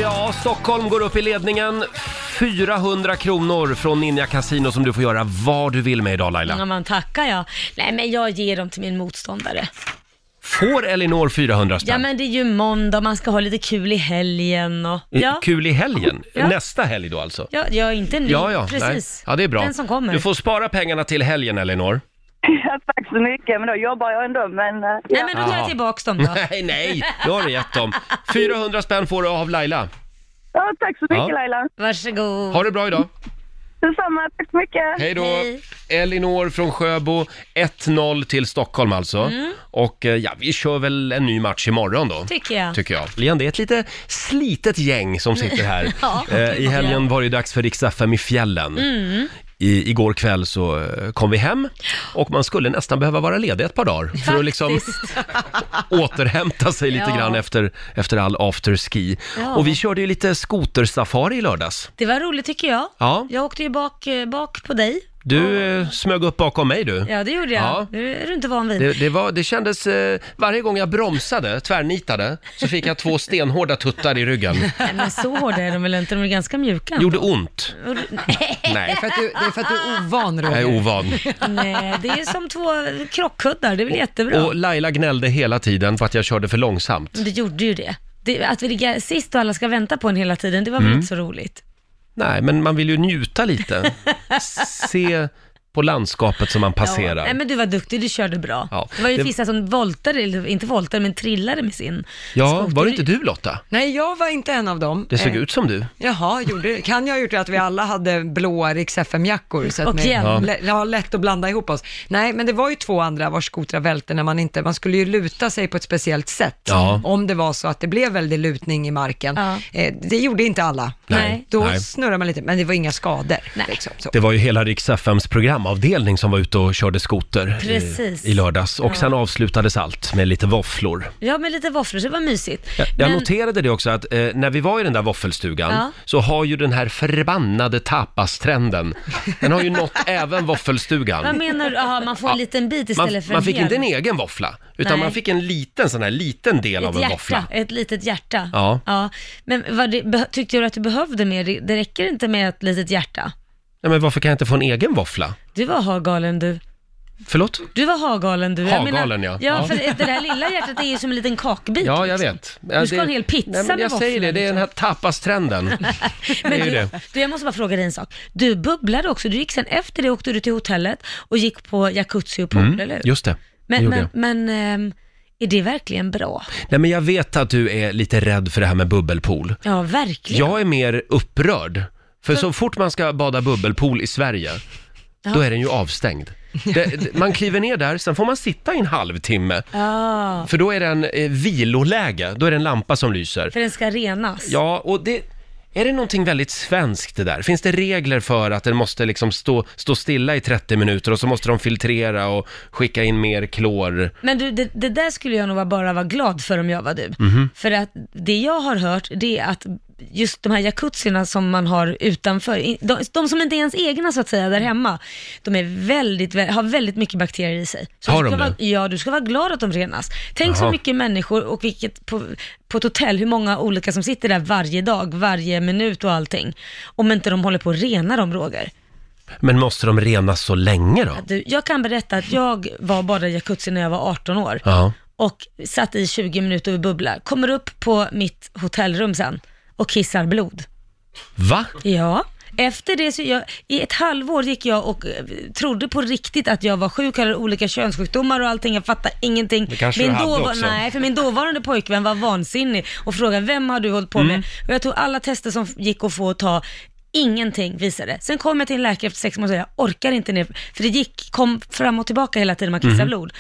A: Ja, Stockholm går upp i ledningen. 400 kronor från Ninja Casino som du får göra vad du vill med idag Laila.
B: Ja, man tackar ja. Nej men jag ger dem till min motståndare.
A: Får Elinor 400
B: Ja
A: spänn?
B: men det är ju måndag, man ska ha lite kul i helgen och... Ja,
A: Eh, Mm, Kul i helgen?
B: Ja.
A: Nästa helg då alltså?
B: ja, ja inte nu.
A: ja, ja,
B: Precis.
A: Nej. Ja, det är bra.
B: Den som kommer.
A: Du får spara pengarna till helgen, Elinor.
N: Ja, tack så mycket, men då jobbar jag ändå. Men, eh, ja.
B: men då tar jag
A: Ja.
B: tillbaks dem då.
A: Nej, nej, nu har du gett dem. 400 spänn får du av Laila.
N: Ja, tack så mycket
A: Ja.
N: Laila.
B: Varsågod.
A: Ha det bra idag.
N: Detsamma, tack så mycket.
A: Hej då! Elinor från Sjöbo, 1-0 till Stockholm alltså.
B: Mm.
A: Och eh, ja, vi kör väl en ny match imorgon då.
B: Tycker jag. Mm.
A: Tycker jag. Lian, Det är ett lite slitet gäng som sitter här.
B: Ja.
A: Eh, I helgen var det ju dags för riks i fjällen.
B: Mm.
A: I, igår kväll så eh, kom vi hem och man skulle nästan behöva vara ledig ett par dagar för att liksom återhämta sig lite
B: Ja.
A: grann efter, efter all afterski.
B: Ja.
A: Och vi körde ju lite skotersafari i lördags.
B: Det var roligt tycker jag.
A: Ja.
B: Jag åkte ju bak, eh, bak på dig.
A: Du eh, smög upp bakom mig du.
B: Ja, det gjorde jag.
A: Ja.
B: Det är du inte van vid.
A: Det, det, var, det kändes, eh, varje gång jag bromsade, tvärnitade, så fick jag två stenhårda tuttar i ryggen.
B: Nej, men så hårda är de väl inte? De är ganska mjuka.
A: Gjorde ont.
B: Gjorde- Nej.
A: Nej.
C: För att du, det är för att du är ovan, Roger.
A: Jag är ovan.
B: Nej, eh, det är som två krockkuddar. Det är väl jättebra.
A: Och Laila gnällde hela tiden på att jag körde för långsamt.
B: Men det gjorde ju det. det att vi ligger sist och alla ska vänta på en hela tiden, det var väl
A: Mm.
B: inte så roligt?
A: Nej, men man vill ju njuta lite. Se på landskapet som man
B: Ja.
A: passerar.
B: Nej, men du var duktig, du körde bra.
A: Ja.
B: Det var ju
A: Det-
B: vissa som voltade, eller inte voltade, men trillade med sin.
A: Ja, var det inte du Lotta?
C: Nej, jag var inte en av dem.
A: Det såg
C: Eh,
A: ut som du.
C: Jaha, gjorde, kan jag ha gjort det att vi alla hade blåa Rix FM-jackor? Så att
B: Och
C: ni-
B: hjälm.
C: lä- ja, lätt att blanda ihop oss. Nej, men det var ju två andra vars skotrar välte när man inte, man skulle ju luta sig på ett speciellt sätt.
A: Ja.
C: Om det var så att det blev väldigt lutning i marken. Eh, det gjorde inte alla.
A: Nej.
C: Då
A: Nej.
C: snurrar man lite, men det var inga skador. Liksom, så.
A: Det var ju hela Rix FMs programavdelning som var ute och körde skoter
B: Precis.
A: i, i lördags. Och
B: Ja.
A: sen avslutades allt med lite våfflor.
B: Ja, med lite våfflor, så det var mysigt.
A: Jag, jag
B: Men-
A: noterade det också att eh, när vi var i den där våffelstugan
B: Ja.
A: så har ju den här förbannade tapastrenden, den har ju nått även våffelstugan.
B: Vad menar du? Jaha, man får en
A: Ja.
B: liten bit
A: man,
B: istället för
A: man
B: en
A: fick
B: hel.
A: inte en egen våffla, utan
B: Nej.
A: man fick en liten sån här liten del av
B: ett
A: en
B: hjärta,
A: våffla.
B: ett litet hjärta.
A: Ja.
B: Men vad det, beh- tyckte du att du behövde mer? Det det räcker inte med ett litet hjärta.
A: Nej, men varför kan jag inte få en egen våffla?
B: Du var hagalen du.
A: Förlåt?
B: Du var hagalen du. Jag
A: Hagalen, ja.
B: Ja,
A: Ja.
B: för det där lilla hjärtat är ju som en liten kakbit. liksom.
A: Ja, jag vet. Ja,
B: Du ska ha en hel pizza
A: Nej, men
B: med
A: Jag säger
B: våfflor, liksom.
A: det, det är den här tapastrenden. det är
B: Men
A: ju
B: du,
A: det.
B: du, jag måste bara fråga dig en sak. Du bubblade också. Du gick sen efter det åkte du till hotellet och gick på jacuzzi och pool,
A: Mm,
B: eller hur?
A: just det. det
B: Men,
A: gjorde
B: men,
A: jag.
B: men ehm, är det verkligen bra?
A: Nej, men jag vet att du är lite rädd för det här med bubbelpool.
B: Ja, verkligen.
A: Jag är mer upprörd. För så fort man ska bada bubbelpool i Sverige,
B: Ja.
A: då är den ju avstängd. Det, det- man kliver ner där, sen får man sitta i en halvtimme.
B: Ja,
A: För då är det en eh, viloläge, då är det en lampa som lyser.
B: för den ska renas.
A: Ja, och det... Är det någonting väldigt svenskt det där? Finns det regler för att den måste liksom stå, stå stilla i 30 minuter och så måste de filtrera och skicka in mer klor?
B: Men du, det, det där skulle jag nog vara- bara vara glad för om jag var du.
A: Mhm.
B: För att det jag har hört, det är att just de här jacuzzierna som man har utanför, i- de, de som inte är ens egna så att säga där hemma, de är väldigt, vä- har väldigt mycket bakterier i sig. Så
A: Har
B: du
A: de
B: ska
A: det?
B: vara, Ja, du ska vara glad att de renas. Tänk
A: Jaha.
B: så mycket människor och vilket, på, på ett hotell, hur många olika som sitter där varje dag, varje minut och allting. Om inte de håller på att rena dem, Roger.
A: Men måste de renas så länge då?
B: Du, jag kan berätta att jag var bara i jacuzzi när jag var 18 år
A: Ja.
B: och satt i 20 minuter och bubbla. Kommer upp på mitt hotellrum sen och kissar blod.
A: Va?
B: Ja. Efter det så, jag, i ett halvår gick jag och eh, trodde på riktigt att jag var sjuk, hade olika könssjukdomar och allting, jag fattade ingenting.
A: Det kanske du hade
B: dåva-
A: också.
B: Nej, för min dåvarande pojkvän var vansinnig och frågade vem har du hållit på
A: Mm.
B: med? Och jag tog alla tester som gick att få och ta, ingenting visade. Sen kom jag till en läkare efter sex månader och sa, jag orkar inte ner, för det gick, kom fram och tillbaka hela tiden, man kissade
A: Mm.
O: Mhm.
B: blod.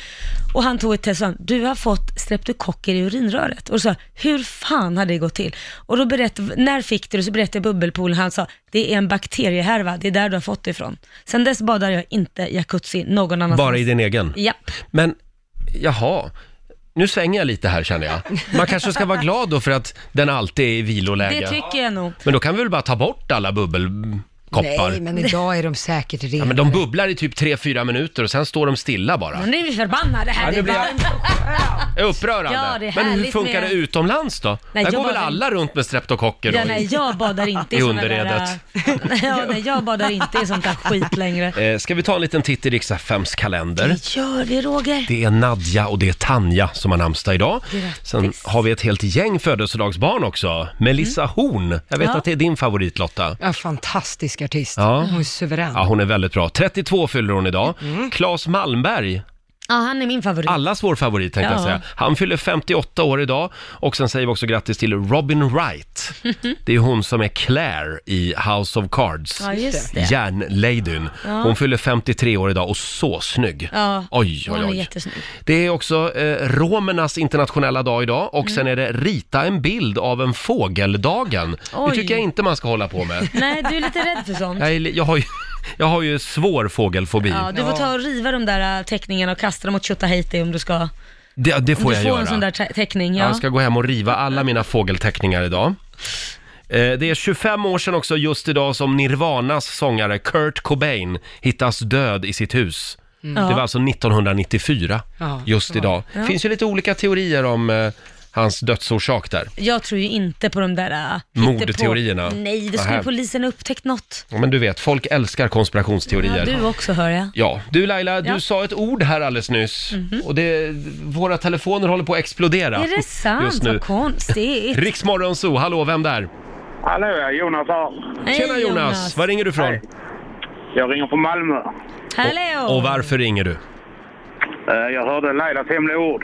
B: Och han tog ett test och sa, du har fått streptokocker i urinröret. Och då sa jag, hur fan har det gått till? Och då berättade, när fick du det? Så berättade jag bubbelpoolen, han sa, det är en bakteriehärva, det är där du har fått det ifrån. Sen dess badar jag inte jacuzzi någon annanstans.
A: Bara i din egen?
B: Ja.
A: Men, jaha. Nu svänger jag lite här känner jag. Man kanske ska vara glad då för att den alltid är i viloläge.
B: Det tycker jag nog.
A: Men då kan vi väl bara ta bort alla bubbel... koppar.
C: Nej, men idag är de säkert rena.
A: Ja, men de bubblar i typ 3-4 minuter och sen står de stilla bara.
B: Ja, Nu är vi förbannade här.
A: Ja, nu
B: det är
A: blir jag-
B: varmt.
A: Det är upprörande.
B: Ja, det är
A: men hur
B: härligt
A: funkar
B: med-
A: det utomlands då?
B: Nej,
A: Där
B: jag
A: går väl
B: badar-
A: alla runt med streptokocker?
B: Ja,
A: och-
B: nej, jag badar inte i,
A: I
B: såna
A: underredet.
B: Där, ja, nej, jag badar inte i sånt där skit längre.
A: Eh, Ska vi ta en liten titt i riks kalender?
B: Det gör vi, Roger.
A: Det är Nadja och det är Tanja som har namnsdag idag.
B: Grattis.
A: Sen har vi ett helt gäng födelsedagsbarn också. Melissa
B: Mm.
A: Horn, jag vet
C: Ja.
A: att det är din favorit Lotta.
C: Ja, fantastisk artist.
A: Ja.
C: Hon är suverän.
A: Ja, hon är väldigt bra. 32 fyller hon idag.
C: Mm.
A: Claes Malmberg,
B: Ja, han är min favorit.
A: allas vår favorit tänkte jag
B: Ja.
A: säga. Han fyller 58 år idag. Och sen säger vi också grattis till Robin Wright. Det är hon som är Claire i House of Cards.
B: Ja, just det.
A: Järnladyn.
B: Ja.
A: Hon fyller 53 år idag och så snygg.
B: Ja,
A: Oj, oj,
B: hon är
A: oj.
B: jättesnygg.
A: Det är också eh, romernas internationella dag idag och
B: Mm.
A: sen är det rita en bild av en fågeldagen.
B: Oj.
A: Det tycker jag inte man ska hålla på med.
B: Nej, du är lite rädd för sånt.
A: Jag, är, li- jag, har, ju, jag har ju svår fågelfobi.
B: Ja, du får ta och riva de där äh, teckningarna och kasta dem åt Tjotahejti om du ska.
A: det, det får
B: om du
A: jag
B: får
A: göra.
B: en sån där te- teckning. Ja.
A: Jag ska gå hem och riva alla mina fågelteckningar idag. Eh, Det är 25 år sedan också just idag som Nirvanas sångare Kurt Cobain hittas död i sitt hus.
E: Mm.
A: Det
E: Ja.
A: var alltså 1994,
B: Ja,
A: just
B: det var
A: idag.
B: det.
A: Det finns ju lite olika teorier om eh, hans dödsorsak där.
B: Jag tror ju inte på de där... äh, hittepå-
A: Mordteorierna.
B: Nej, då
A: Nähä.
B: skulle polisen ha upptäckt något.
A: Ja, Men du vet, folk älskar
B: Ja,
A: konspirationsteorier.
B: du också hör jag.
A: Ja, du Laila,
B: Ja. Mhm.
A: du sa ett ord här alldeles nyss och det, våra telefoner håller på att explodera
B: Är det sant?
A: just nu.
B: Vad konstigt.
A: Riksmorgon Zoo, hallå, vem där?
O: Hallå, jag är Jonas här.
B: Hej,
A: Tjena Jonas.
B: Jonas.
A: var ringer du ifrån?
O: Jag ringer från Malmö.
B: Hallå!
A: Och varför ringer du?
O: Eh, Jag hörde Lailas hemliga ord.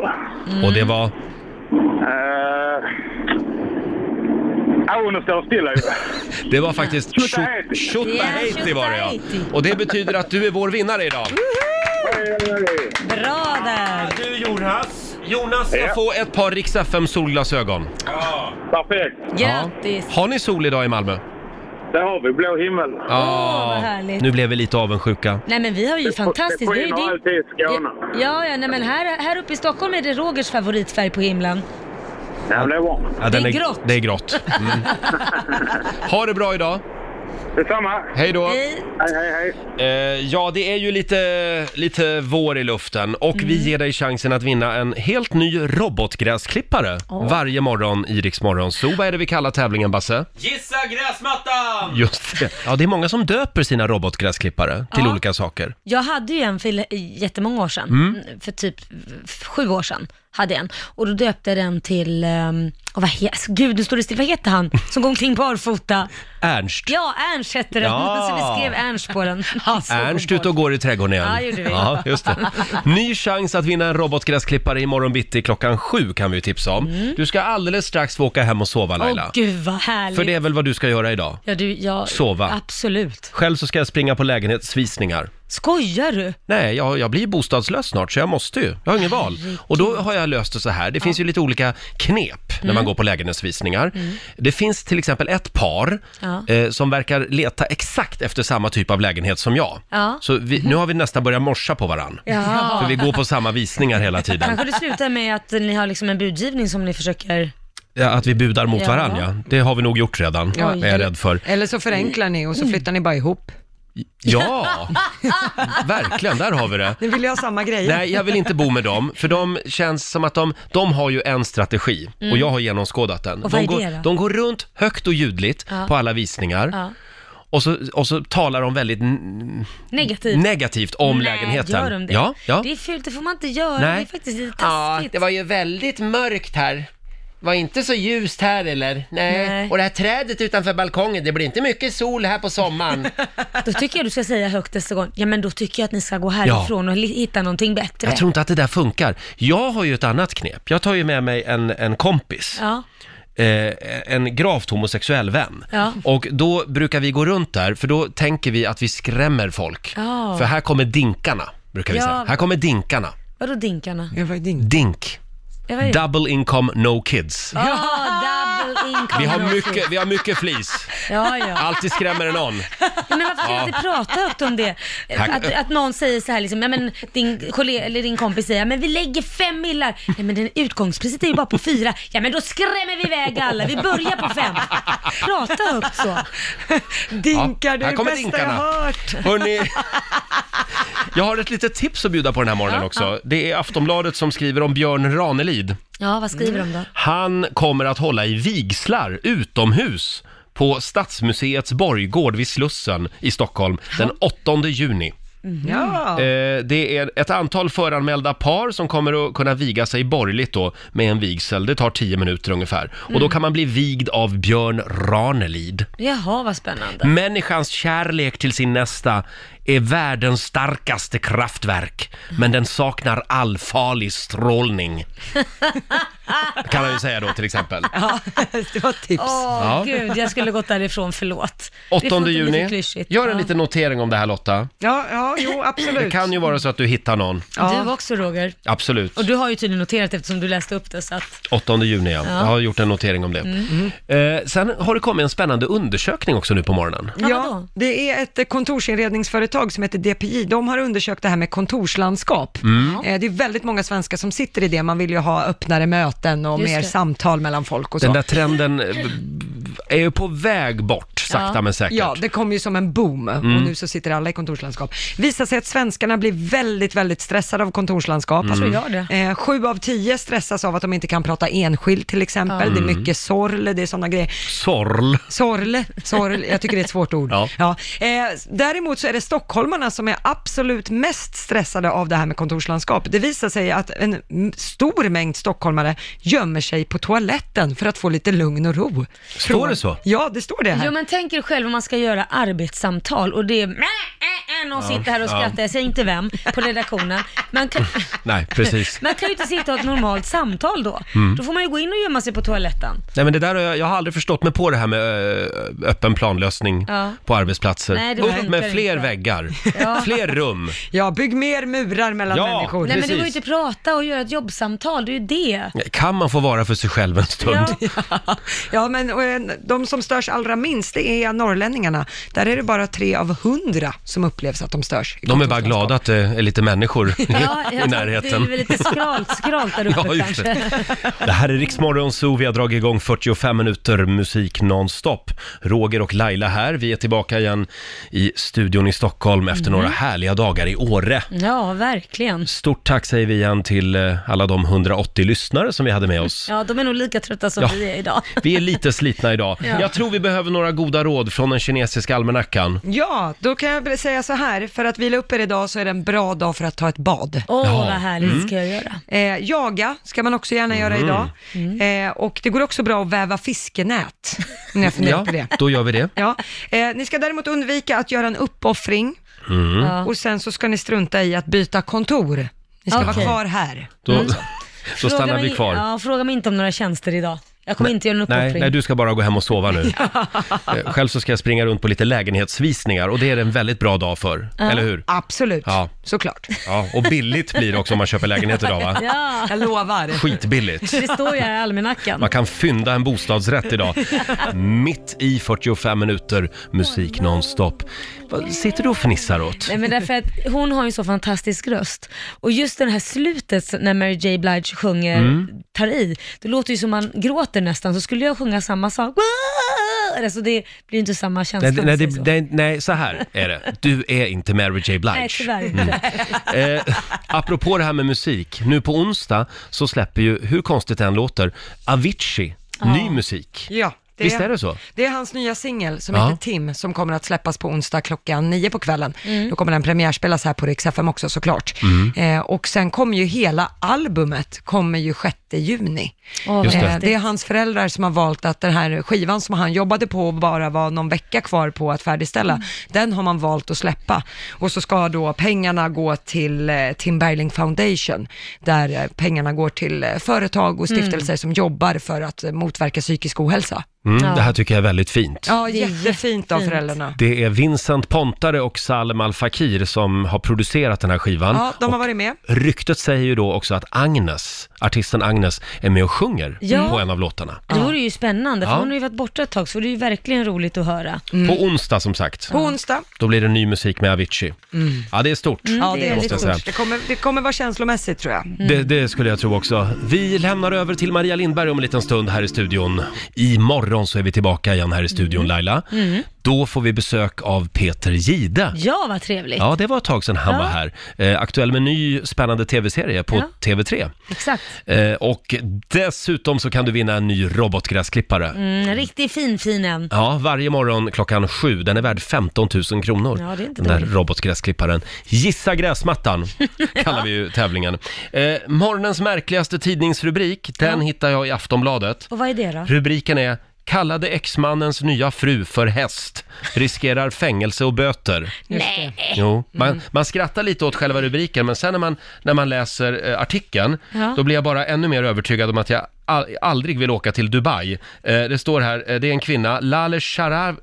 A: Och det var?
O: Eh, Ån står stilla ju.
A: Det var faktiskt
O: Tjota
A: Tjo-
O: Heiti.
A: Tjotaheiti
O: Ja,
A: var det ja.
O: Tjotaheiti.
A: Och det betyder att du är vår vinnare idag.
B: Bra där!
A: Du Jonas! Jonas ska få ett par Rix FM solglasögon.
O: Perfekt.
B: Grattis!
A: Har ni sol idag i Malmö?
O: Där har vi blå himmel.
A: Ja.
B: vad härligt.
A: nu blev vi lite avundsjuka.
B: Nej men vi har ju fantastiskt...
O: Det
B: är ju
O: skiner
B: din-
O: alltid i Skåne.
B: Ja, ja, nej men här, här uppe i Stockholm är det Rogers favoritfärg på himlen.
O: Ja, det är bra.
A: Ja,
B: Det är
A: den
B: grått.
A: Det är grått. Mm. Ha det bra idag.
O: Detsamma.
A: Hej då.
B: Hej.
O: Hej, hej, hej.
A: Eh, ja, det är ju lite, lite vår i luften och vi
B: Mm.
A: ger dig chansen att vinna en helt ny robotgräsklippare
E: Åh.
A: varje morgon i Rix Morgon. Så vad är det vi kallar tävlingen, Basse?
E: Gissa gräsmattan!
A: Just det. Ja, det är många som döper sina robotgräsklippare till
B: Ja.
A: olika saker.
B: Jag hade ju en för l- jättemånga år sedan,
A: Mm.
B: för typ f- sju år sedan hade jag en. Och då döpte jag den till, um, och vad he- alltså, gud nu står det still, vad heter han som går omkring barfota?
A: Ernst.
B: Ja, Ernst hette den,
A: Ja. Alltså,
B: så vi skrev Ernst på den. Alltså,
A: Ernst ute och går i trädgården igen.
B: Ja, gjorde vi.
A: Ja, just det. Ny chans att vinna en robotgräsklippare imorgon bitti klockan sju kan vi ju tipsa om. Du ska alldeles strax få åka hem och sova
B: Mm. Åh
A: Laila.
B: gud vad härligt.
A: För det är väl vad du ska göra idag?
B: Ja, du, ja,
A: Sova.
B: Absolut.
A: Själv så ska jag springa på lägenhetsvisningar.
B: Skojar du?
A: Nej, jag, jag blir bostadslös snart så jag måste ju. Jag har ingen val. Och då har jag löst det så här. Det finns ju lite olika knep när man
E: Mm.
A: går på lägenhetsvisningar.
E: Mm.
A: Det finns till exempel ett par
E: Ja.
A: eh, som verkar leta exakt efter samma typ av lägenhet som jag.
B: Ja.
A: Så vi, nu har vi nästan börjat morsa på varann.
B: Ja.
A: För vi går på samma visningar hela tiden.
B: Kanske det slutar med att ni har liksom en budgivning som ni försöker...
A: Ja, att vi budar mot
B: Ja.
A: varandra, ja. Det har vi nog gjort redan,
B: Ja.
A: är jag rädd för.
C: Eller så förenklar ni och
B: Mm.
C: så flyttar ni bara ihop.
A: Ja, verkligen, där har vi det.
C: Nu vill jag ha samma grejer.
A: Nej, jag vill inte bo med dem, för de känns som att de, de har ju en strategi
C: Mm.
A: och jag har genomskådat den.
C: Och vad
A: de,
C: är
A: går,
C: det då?
A: de går runt högt och ljudligt
B: Ja.
A: på alla visningar
B: Ja.
A: och, så, och så talar de väldigt n-
B: Negativt.
A: negativt om
B: Nej,
A: lägenheten.
B: Gör de det?
A: Ja, ja.
B: Det är fult, det får man inte göra.
A: Nej.
B: Det är faktiskt lite taskigt.
A: det var ju väldigt mörkt här. Var inte så ljust här eller?
B: Nej. Nej. Och
A: det här trädet utanför balkongen, det blir inte mycket sol här på sommaren.
B: Då tycker jag du ska säga högt nästa gång, ja men då tycker jag att ni ska gå härifrån och li- hitta någonting bättre.
A: Jag tror inte att det där funkar. Jag har ju ett annat knep. Jag tar ju med mig en, en kompis.
B: Ja.
A: eh, en gravt homosexuell vän.
B: Ja.
A: Och då brukar vi gå runt där, för då tänker vi att vi skrämmer folk.
B: Ja.
A: För här kommer dinkarna, brukar vi
B: Ja.
A: säga. Här kommer dinkarna.
B: Vadå dinkarna?
C: Ja, vad är dink?
A: Dink.
B: Ja, vad är det?
A: Double income, no kids.
B: Ja, Ah, double income.
A: Vi har mycket, vi har mycket flis.
B: Ja, ja.
A: Alltid skrämmer det någon.
B: Nej, men varför kan vi inte prata högt om det?
A: Tack.
B: Att, att någon säger så här liksom, ja men din kollega eller din kompis säger, ja men vi lägger fem millar. Nej men den utgångspriset är ju bara på fyra. Ja men då skrämmer vi iväg alla, vi börjar på fem. Prata högt så.
A: Dinkar,
B: det är det bästa jag hört.
A: Hörrni, jag har ett litet tips att bjuda på den här morgonen
B: Ja,
A: också.
B: ja.
A: Det är Aftonbladet som skriver om Björn Ranelid.
B: Ja, vad skriver de då?
A: Han kommer att hålla i vigslar utomhus på Stadsmuseets borggård vid Slussen i Stockholm den 8 juni.
P: Ja.
C: Mm.
A: Eh, Det är ett antal föranmälda par som kommer att kunna viga sig borgerligt då med en vigsel. Det tar 10 minuter ungefär. Och då
B: Mm.
A: kan man bli vigd av Björn Ranelid.
B: Jaha, vad spännande.
A: Människans kärlek till sin nästa är världens starkaste kraftverk, men den saknar all farlig strålning. Kan man ju säga då till exempel.
B: Ja, det var tips. Åh
A: Ja.
B: gud, jag skulle gått därifrån, förlåt. Det får
A: 8
B: inte bli för
A: juni.
B: klyschigt.
A: Gör en
B: Ja.
A: liten notering om det här Lotta.
B: Ja, ja, jo absolut.
A: Det kan ju vara så att du hittar någon.
B: Du också Roger.
A: Absolut.
B: Och du har ju tydligen noterat eftersom du läste upp det så att...
A: 8 juni ja.
B: Ja.
A: Jag har gjort en notering om det.
B: Mm.
A: Eh, sen har det kommit en spännande undersökning också nu på morgonen.
C: Ja, det är ett eh, kontorsinredningsföretag som heter DPJ. De har undersökt det här med kontorslandskap.
A: Mm.
C: Eh, Det är väldigt många svenskar som sitter i det. Man vill ju ha öppnare möten och
B: Just
C: mer
B: det.
C: samtal mellan folk och så.
A: Den där trenden eh, b- b- är ju på väg bort, sakta men säkert.
C: Ja, det kom ju som en boom
A: Mm.
C: och nu så sitter alla i kontorslandskap. Visar sig att svenskarna blir väldigt, väldigt stressade av kontorslandskap.
A: Mm.
B: Jag tror jag det.
C: Eh, sju av tio stressas av att de inte kan prata enskilt till exempel.
A: Ja.
C: Det är
A: Mm.
C: mycket sorl, det är sådana grejer.
A: Sorl.
C: Sorl, sorl, jag tycker det är ett svårt ord. Ja. Eh, däremot så är det stockholmarna som är absolut mest stressade av det här med kontorslandskap. Det visar sig att en m- stor mängd stockholmare gömmer sig på toaletten för att få lite lugn och ro. Från-
A: det så?
C: Ja, det står det här.
B: Jo men tänk er själv om man ska göra arbetssamtal och det är "Mä, äh, äh", någon
A: Ja,
B: sitter här och
A: ja.
B: skrattar, jag säger inte vem, på redaktionen. Man kan,
A: Nej, precis.
B: man kan ju inte sitta och ha ett normalt samtal då.
A: Mm.
B: Då får man ju gå in och gömma sig på toaletten.
A: Nej men det där har jag, jag har aldrig förstått mig på det här med ö, öppen planlösning
B: Ja.
A: på arbetsplatser.
B: Nej, det
A: Upp
B: funkar
A: med fler
B: inte.
A: väggar,
B: Ja.
A: fler rum.
C: Ja, bygg mer murar mellan
A: Ja,
C: människor.
B: Nej men det
A: precis.
B: går ju inte att prata och göra ett jobbsamtal, det är ju det.
A: Kan man få vara för sig själv en stund?
C: Ja, men och, eh, de som störs allra minst, det är norrlänningarna. Där är det bara tre av hundra som upplevs att de störs.
A: De är bara glada att det är lite människor
B: Ja,
A: i
B: jag tror att det är
A: närheten.
B: väl lite skralt, skralt där uppe
A: Ja, just det.
B: kanske.
A: Det här är Riksmorgon Zoo, vi har dragit igång 45 minuter musik nonstop. Roger och Laila här, vi är tillbaka igen i studion i Stockholm efter
B: Mm.
A: några härliga dagar i Åre.
B: Ja, verkligen.
A: Stort tack säger vi igen till eh, alla de 180 lyssnare som vi hade med oss.
B: Ja, de är nog lika trötta som
A: Ja.
B: vi är idag.
A: Vi är lite slitna idag.
C: Ja.
A: Jag tror vi behöver några goda råd från den kinesiska almanackan.
C: Ja, då kan jag väl säga så här, för att vila upp er idag så är det en bra dag för att ta ett bad.
B: Åh,
A: Ja.
B: vad härligt
A: Mm.
B: ska jag göra.
C: Eh, jaga ska man också gärna göra
A: Mm.
C: idag. Eh, och det går också bra att väva fiskenät, om ni har funderat
A: Ja,
C: på det.
A: då gör vi det.
C: Ja. Eh, ni ska däremot undvika att göra en uppoffring
A: Mm.
C: och sen så ska ni strunta i att byta kontor. Ni ska
B: Okej.
C: vara kvar här.
A: Då, då
B: Mm. Fråga
A: stannar
B: mig,
A: vi kvar.
B: Ja, fråga mig inte om några tjänster idag. Jag kommer inte göra någon
A: Nej,
B: uppoffring.
A: nej, du ska bara gå hem och sova nu. Eh, Själv så ska jag springa runt på lite lägenhetsvisningar och det är en väldigt bra dag för,
B: Ja.
A: eller hur?
C: Absolut,
A: Ja.
C: såklart.
A: ja. Och billigt blir det också om man köper lägenhet idag va?
B: Ja.
C: Jag lovar.
A: Skitbilligt.
B: Det står ju här i almanackan.
A: Man kan fynda en bostadsrätt idag. Mitt i 45 minuter musik nonstop. Vad sitter du och fnissar åt?
B: Nej men därför att hon har ju en så fantastisk röst. Och just det här slutet så- när Mary J Blige sjunger,
A: Mm.
B: tar i, det låter ju som man gråter nästan, så skulle jag sjunga samma sak, alltså det blir ju inte samma känsla.
A: Nej,
B: om
A: nej,
B: man säger
A: det,
B: så.
A: nej, nej, så här är det. Du är inte Mary J. Blige.
B: Nej, tyvärr inte.
A: Mm. Eh, apropå det här med musik, nu på onsdag så släpper ju, hur konstigt det än låter, Avicii ny musik.
C: Ja,
A: Visst är det så?
C: Det är hans nya singel som
A: Ja.
C: heter Tim som kommer att släppas på onsdag klockan nio på kvällen. Då kommer den premiärspelas här på Rix FM också såklart.
A: Mm.
C: Eh, och sen kommer ju hela albumet, kommer ju 6 juni.
B: Åh, vad
C: Eh,
B: häftigt.
C: det är hans föräldrar som har valt att den här skivan som han jobbade på och bara var någon vecka kvar på att färdigställa, den har man valt att släppa. Och så ska då pengarna gå till eh, Tim Bergling Foundation, där eh, pengarna går till eh, företag och stiftelser
B: Mm.
C: som jobbar för att eh, motverka psykisk ohälsa.
A: Mm,
C: Ja.
A: Det här tycker jag är väldigt fint.
C: Ja, jättefint av föräldrarna.
A: Det är Vincent Pontare och Salem Al Fakir som har producerat den här skivan.
C: Ja, de har
A: Och
C: varit med.
A: Ryktet säger ju då också att Agnes, artisten Agnes, är med och sjunger
B: Ja.
A: på en av låtarna.
B: Det vore ju spännande, för
A: Ja.
B: hon har ju varit borta ett tag, så det är ju verkligen roligt att höra.
A: På onsdag som sagt.
C: Mm. På onsdag.
A: Då blir det ny musik med Avicii.
C: Mm.
A: Ja, det är stort.
C: ja, Mm, det är
A: måste
C: lite
A: jag säga.
C: stort. Det kommer, det kommer vara känslomässigt tror jag.
B: Mm.
A: Det, det skulle jag tro också. Vi lämnar över till Maria Lindberg om en liten stund här i studion. Imorgon så är vi tillbaka igen här i studion Laila.
B: Mm.
A: Då får vi besök av Peter Gide.
B: Ja, vad trevligt.
A: Ja, det var ett tag sedan han
B: Ja.
A: var här. Eh, aktuell med ny spännande tv-serie på
B: Ja.
A: TV3.
B: Exakt.
A: Eh, och dessutom så kan du vinna en ny robotgräsklippare.
B: Mm, en riktigt fin, fin en.
A: Ja, varje morgon klockan sju. Den är värd 15 000 kronor.
B: Ja, det är inte
A: den där
B: dåligt.
A: robotgräsklipparen. Gissa gräsmattan kallar vi ju tävlingen. Eh, morgonens märkligaste tidningsrubrik, den hittar jag i Aftonbladet.
B: Och vad är det då?
A: Rubriken är “Kallade exmannens nya fru för häst. Riskerar fängelse och böter”.
B: Nej. Mm.
A: Jo, man, man skrattar lite åt själva rubriken, men sen när man, när man läser eh, artikeln,
B: Ja.
A: då blir jag bara ännu mer övertygad om att jag all, aldrig vill åka till Dubai. Eh, det står här, eh, det är en kvinna, Laleh Sharav...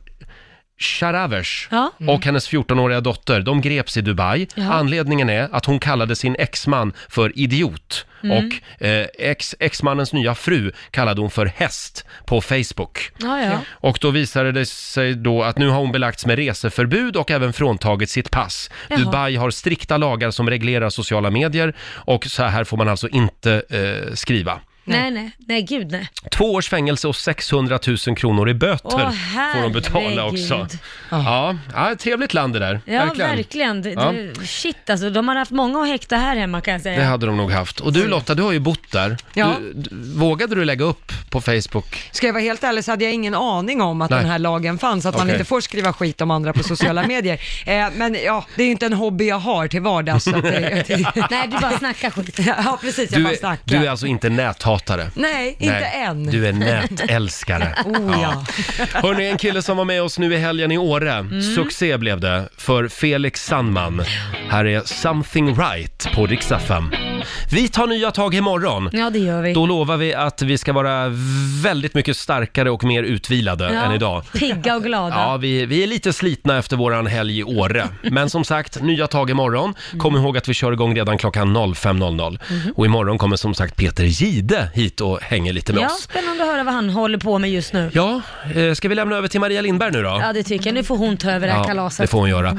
A: Sharavers
B: Ja. Mm.
A: och hennes 14-åriga dotter, de greps i Dubai.
B: Ja.
A: Anledningen är att hon kallade sin exman för idiot
B: Mm.
A: och eh, ex, exmannens nya fru kallade hon för häst på Facebook.
B: Ja, ja.
A: Och då visade det sig då att nu har hon belagts med reseförbud och även fråntagit sitt pass.
B: Jaha.
A: Dubai har strikta lagar som reglerar sociala medier och så här får man alltså inte eh, skriva.
B: Nej, nej, nej, gud nej.
A: Två års fängelse och 600 000 kronor i böter
B: Åh,
A: får de betala
B: herregud.
A: också.
C: Ah.
A: Ja, ja, trevligt land det där.
B: Ja, verkligen. Det,
A: Ja.
B: det, shit alltså, de har haft många att häkta här hemma kan jag säga.
A: Det hade de nog haft. Och du Lotta, du har ju bott där.
C: Ja.
A: Du, du, vågade du lägga upp på Facebook?
C: Ska jag vara helt ärlig så hade jag ingen aning om att
A: Nej.
C: den här lagen fanns, att man
A: Okej.
C: inte får skriva skit om andra på sociala medier. Eh, men ja, det är ju inte en hobby jag har till vardags. Så att det,
B: Nej, du bara snackar skit.
C: ja, precis, jag
A: Du
C: bara
A: är,
C: snackar.
A: du är alltså inte näthatare?
C: Nej, inte än.
A: Du är nätälskare.
C: Oh, ja.
A: Hörni, en kille som var med oss nu i helgen i Åre.
B: Mm.
A: Succé blev det för Felix Sandman. Här är “Something Right” på riksdag Vi tar nya tag imorgon.
B: Ja, det gör vi.
A: Då lovar vi att vi ska vara väldigt mycket starkare och mer utvilade
B: Ja,
A: än idag.
B: Pigga och glada.
A: Ja, vi, vi är lite slitna efter våran helg i Åre. Men som sagt, nya tag imorgon.
B: Mm.
A: Kom ihåg att vi kör igång redan klockan 05.00.
B: Mhm.
A: Och imorgon kommer som sagt Peter Gide hit och hänger lite med
B: ja,
A: oss.
B: spännande att höra vad han håller på med just nu.
A: Ja, eh, ska vi lämna över till Maria Lindberg nu då?
B: Ja, det tycker jag. Nu får hon ta över det här
A: Ja,
B: kalaset.
A: det får hon göra.